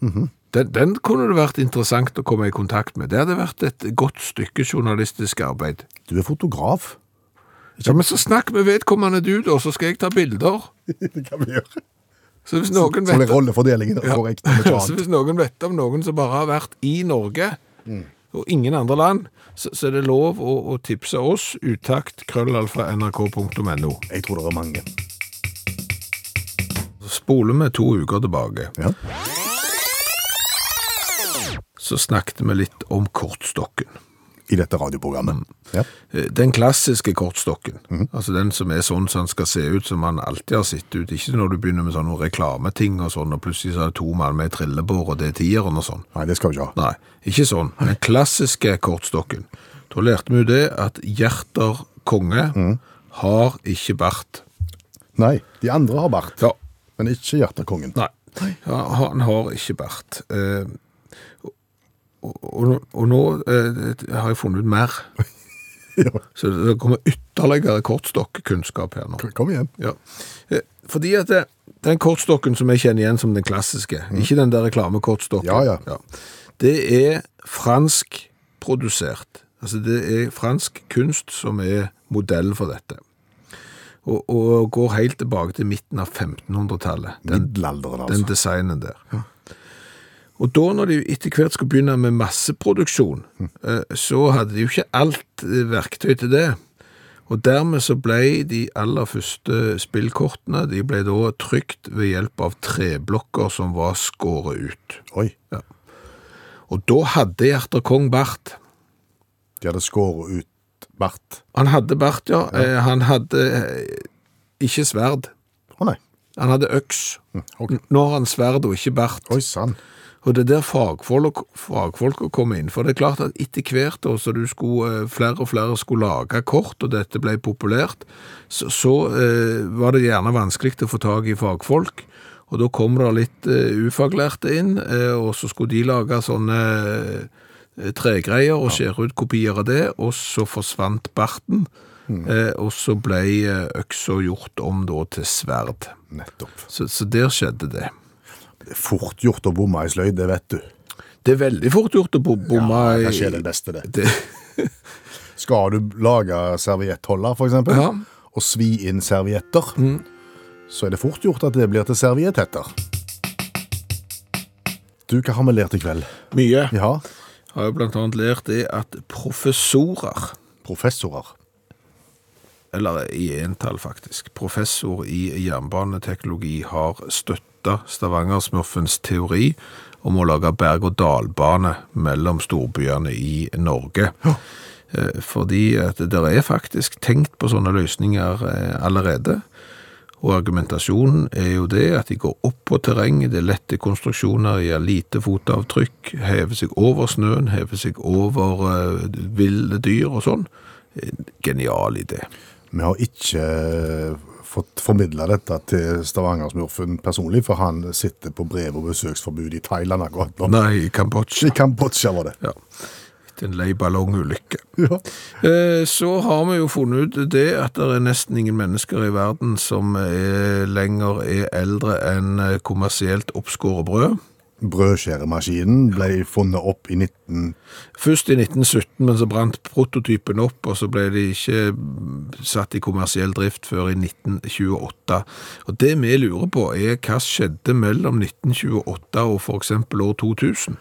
Speaker 2: Mhm.
Speaker 3: Den, den kunne det vært interessant å komme i kontakt med. Det hadde vært et godt stykke journalistisk arbeid.
Speaker 2: Du er fotograf.
Speaker 3: Ja, men så snakk med vedkommende du, da, så skal jeg ta bilder.
Speaker 2: Det kan vi gjøre.
Speaker 3: Så hvis noen
Speaker 2: Så
Speaker 3: vet
Speaker 2: blir rollefordelingen
Speaker 3: Ja.
Speaker 2: korrekt. om ikke
Speaker 3: Så
Speaker 2: annet.
Speaker 3: hvis noen vet om noen som bare har vært i Norge, og ingen andre land, så, så er det lov å, å tipse oss, uttakt krøllalfa nrk.no.
Speaker 2: Jeg tror det er mange.
Speaker 3: Så spoler vi to uker tilbake.
Speaker 2: Ja.
Speaker 3: Så snakket vi litt om kortstokken.
Speaker 2: I dette radioprogrammet. Ja.
Speaker 3: Eh, Den klassiske kortstokken, altså den som er sånn som den skal se ut som man alltid har sett ut, ikke når du begynner med sånne reklameting og sånn, og plutselig så er det to mann med trillebår, og det er tieren og sånn.
Speaker 2: Nei, det skal vi ikke ha.
Speaker 3: Nei, ikke sånn. Den klassiske kortstokken. Da lærte vi jo det at hjerter konge har ikke bart.
Speaker 2: Nei, de andre har bart,
Speaker 3: Ja.
Speaker 2: men ikke Hjertekongen.
Speaker 3: Nei. Ja, han har ikke bart. Eh, og, og, og nå eh, har jeg funnet ut mer.
Speaker 2: Ja.
Speaker 3: Så det kommer ytterligere kortstokkunnskap her nå.
Speaker 2: Kom igjen.
Speaker 3: Ja. Eh, Fordi at det, den kortstokken som jeg kjenner igjen som den klassiske, ikke den der reklamekortstokken,
Speaker 2: Mm. Ja, ja.
Speaker 3: det er fransk produsert. Altså det er fransk kunst som er modell for dette. Og, og går helt tilbake til midten av 1500-tallet, den,
Speaker 2: Middelalderen,
Speaker 3: den
Speaker 2: altså.
Speaker 3: designen der. Og da når de etter hvert skulle begynne med masseproduksjon,
Speaker 2: Hm.
Speaker 3: eh, så hadde de jo ikke alt eh, verktøy til det. Og dermed så ble de aller første spillkortene, de ble da trykt ved hjelp av treblokker som var skåret ut.
Speaker 2: Oi,
Speaker 3: Og da hadde Hjerter Kong bart.
Speaker 2: de hadde skåret ut bart.
Speaker 3: Han hadde bart, ja. Eh, Han hadde eh, ikke sverd.
Speaker 2: Å nei. Mm,
Speaker 3: Han hadde øks.
Speaker 2: ok.
Speaker 3: N- Nå har han sverd og ikke bart.
Speaker 2: Oi sann.
Speaker 3: Og det er der fagfolk, fagfolk kom inn. For det er klart at etter hvert da, så du skulle, eh, flere og flere skulle lage kort, og dette ble populært, så, så eh, var det gjerne vanskelig å få tag i fagfolk. Og da kom det litt eh, ufaglærte inn, eh, og så skulle de lage sånne eh, tregreier og skjære ut kopier av det, og så forsvant barten.
Speaker 2: Mm.
Speaker 3: Eh, og så ble eh, øksa gjort om da til sverd.
Speaker 2: Nettopp.
Speaker 3: Så, så der skjedde det.
Speaker 2: Det er fort gjort å bomme i sløyd, det vet du.
Speaker 3: Det er veldig fort gjort å bo- bomme
Speaker 2: Det
Speaker 3: i-
Speaker 2: skjer det beste, det.
Speaker 3: Det,
Speaker 2: Skal du lage serviettholder, for eksempel,
Speaker 3: Ja. Mm.
Speaker 2: og svi inn servietter, så er det fort gjort at det blir til serviettetter. Du, hva har vi lært i kveld?
Speaker 3: mye.
Speaker 2: Vi har
Speaker 3: Har jo blant annet lært det at professorer,
Speaker 2: professorer.
Speaker 3: eller i entall faktisk, professor i jernbaneteknologi har støtta Stavanger-smurfens teori om å lage berg-og-dal-bane mellom storbyene i Norge. Eh, Fordi at det der er faktisk tenkt på sånne løsninger eh, allerede. Og argumentasjonen er jo det at de går opp på terrenget, det er lette konstruksjoner, de har lite fotavtrykk, hever seg over snøen, hever seg over eh, ville dyr og sånn. Eh, Genial idé.
Speaker 2: Vi har ikke eh, fått formidla dette til Stavanger-smurfen personlig, for han sitter på brev- og besøksforbud i Thailand akkurat nå.
Speaker 3: Nei, Kambodsja.
Speaker 2: I Kambodsja var det.
Speaker 3: Ja. Etter en lei ballongulykke.
Speaker 2: Ja.
Speaker 3: Eh, Så har vi jo funnet ut det at det er nesten ingen mennesker i verden som er, lenger er eldre enn eh, kommersielt oppskåret brød.
Speaker 2: Brødskjæremaskinen ble funnet opp i 19...
Speaker 3: Først i 1917, men så brant prototypen opp, og så ble de ikke mm, satt i kommersiell drift før i 1928. Og det vi lurer på er hva skjedde mellom 1928 og for eksempel år 2000?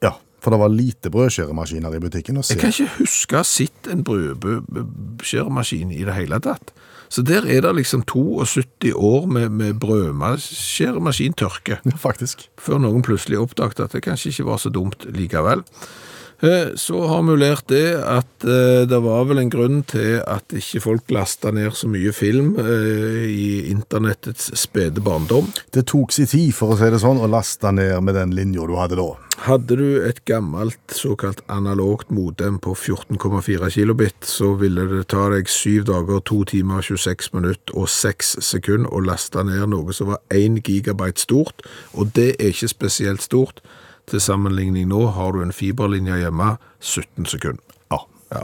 Speaker 2: Ja, for det var lite brødskjæremaskiner i butikken å se.
Speaker 3: Jeg kan ikke huske å ha sett en brødskjæremaskin i det hele tatt. Så der er det liksom 72 år med, med brødskjæremaskintørke.
Speaker 2: Ja, faktisk.
Speaker 3: før noen plutselig oppdaget at det kanskje ikke var så dumt likevel. Eh, Så har vi jo lært det at eh, det var vel en grunn til at ikke folk lasta ned så mye film eh, i internettets spede barndom.
Speaker 2: Det tok sin tid, for å si det sånn, å laste ned med den linja du hadde da.
Speaker 3: Hadde du et gammelt såkalt analogt modem på 14,4 kilobit, så ville det ta deg 7 dager, 2 timer, 26 minutter og 6 sekunder å laste ned noe som var 1 gigabyte stort, og det er ikke spesielt stort. Til sammenligning nå har du en fiberlinje hjemme 17 sekunder.
Speaker 2: Ja.
Speaker 3: Ja.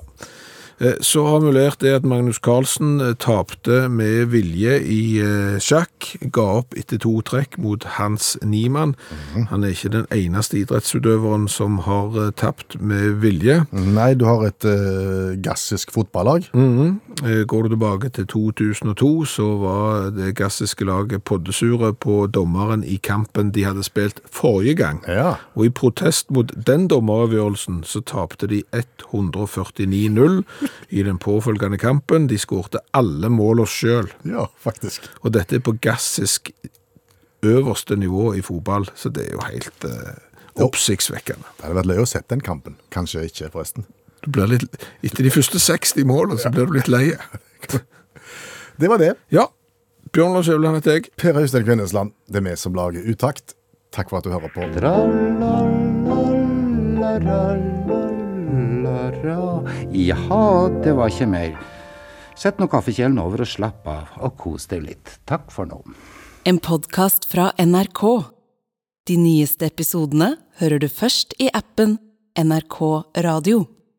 Speaker 3: Eh, Så har vi lært det at Magnus Carlsen eh, tapte med vilje i eh, sjakk, ga opp etter to trekk mot Hans Niemann. Han er ikke den eneste idrettsutøveren som har eh, tapt med vilje.
Speaker 2: Nei, du har et eh, gassisk fotballag.
Speaker 3: Eh, Går du tilbake til 2002, så var det gassiske laget poddesure på dommeren i kampen de hadde spilt forrige gang.
Speaker 2: Ja.
Speaker 3: Og i protest mot den dommeravgjørelsen så tapte de 149-0 i den påfølgende kampen. De skårte alle målene sjøl,
Speaker 2: Ja, faktisk.
Speaker 3: og dette er på gassisk øverste nivå i fotball, så det er jo helt eh, oppsiktsvekkende.
Speaker 2: Det hadde vært løy å sett den kampen. Kanskje ikke, forresten.
Speaker 3: Du blir litt, etter de første 60 målene så blir du litt lei.
Speaker 2: Det var det.
Speaker 3: Ja, Bjørn Lars Øvland heter jeg.
Speaker 2: Per Øystein Kvindesland, det er vi som lager Utakt. Takk for at du hører på.
Speaker 8: Tra-la-la-la-la-la. Jaha, det var ikke mer. Sett nå kaffekjelen over og slapp av, og kos deg litt. Takk for nå.
Speaker 1: En podkast fra NRK. De nyeste episodene hører du først i appen NRK Radio.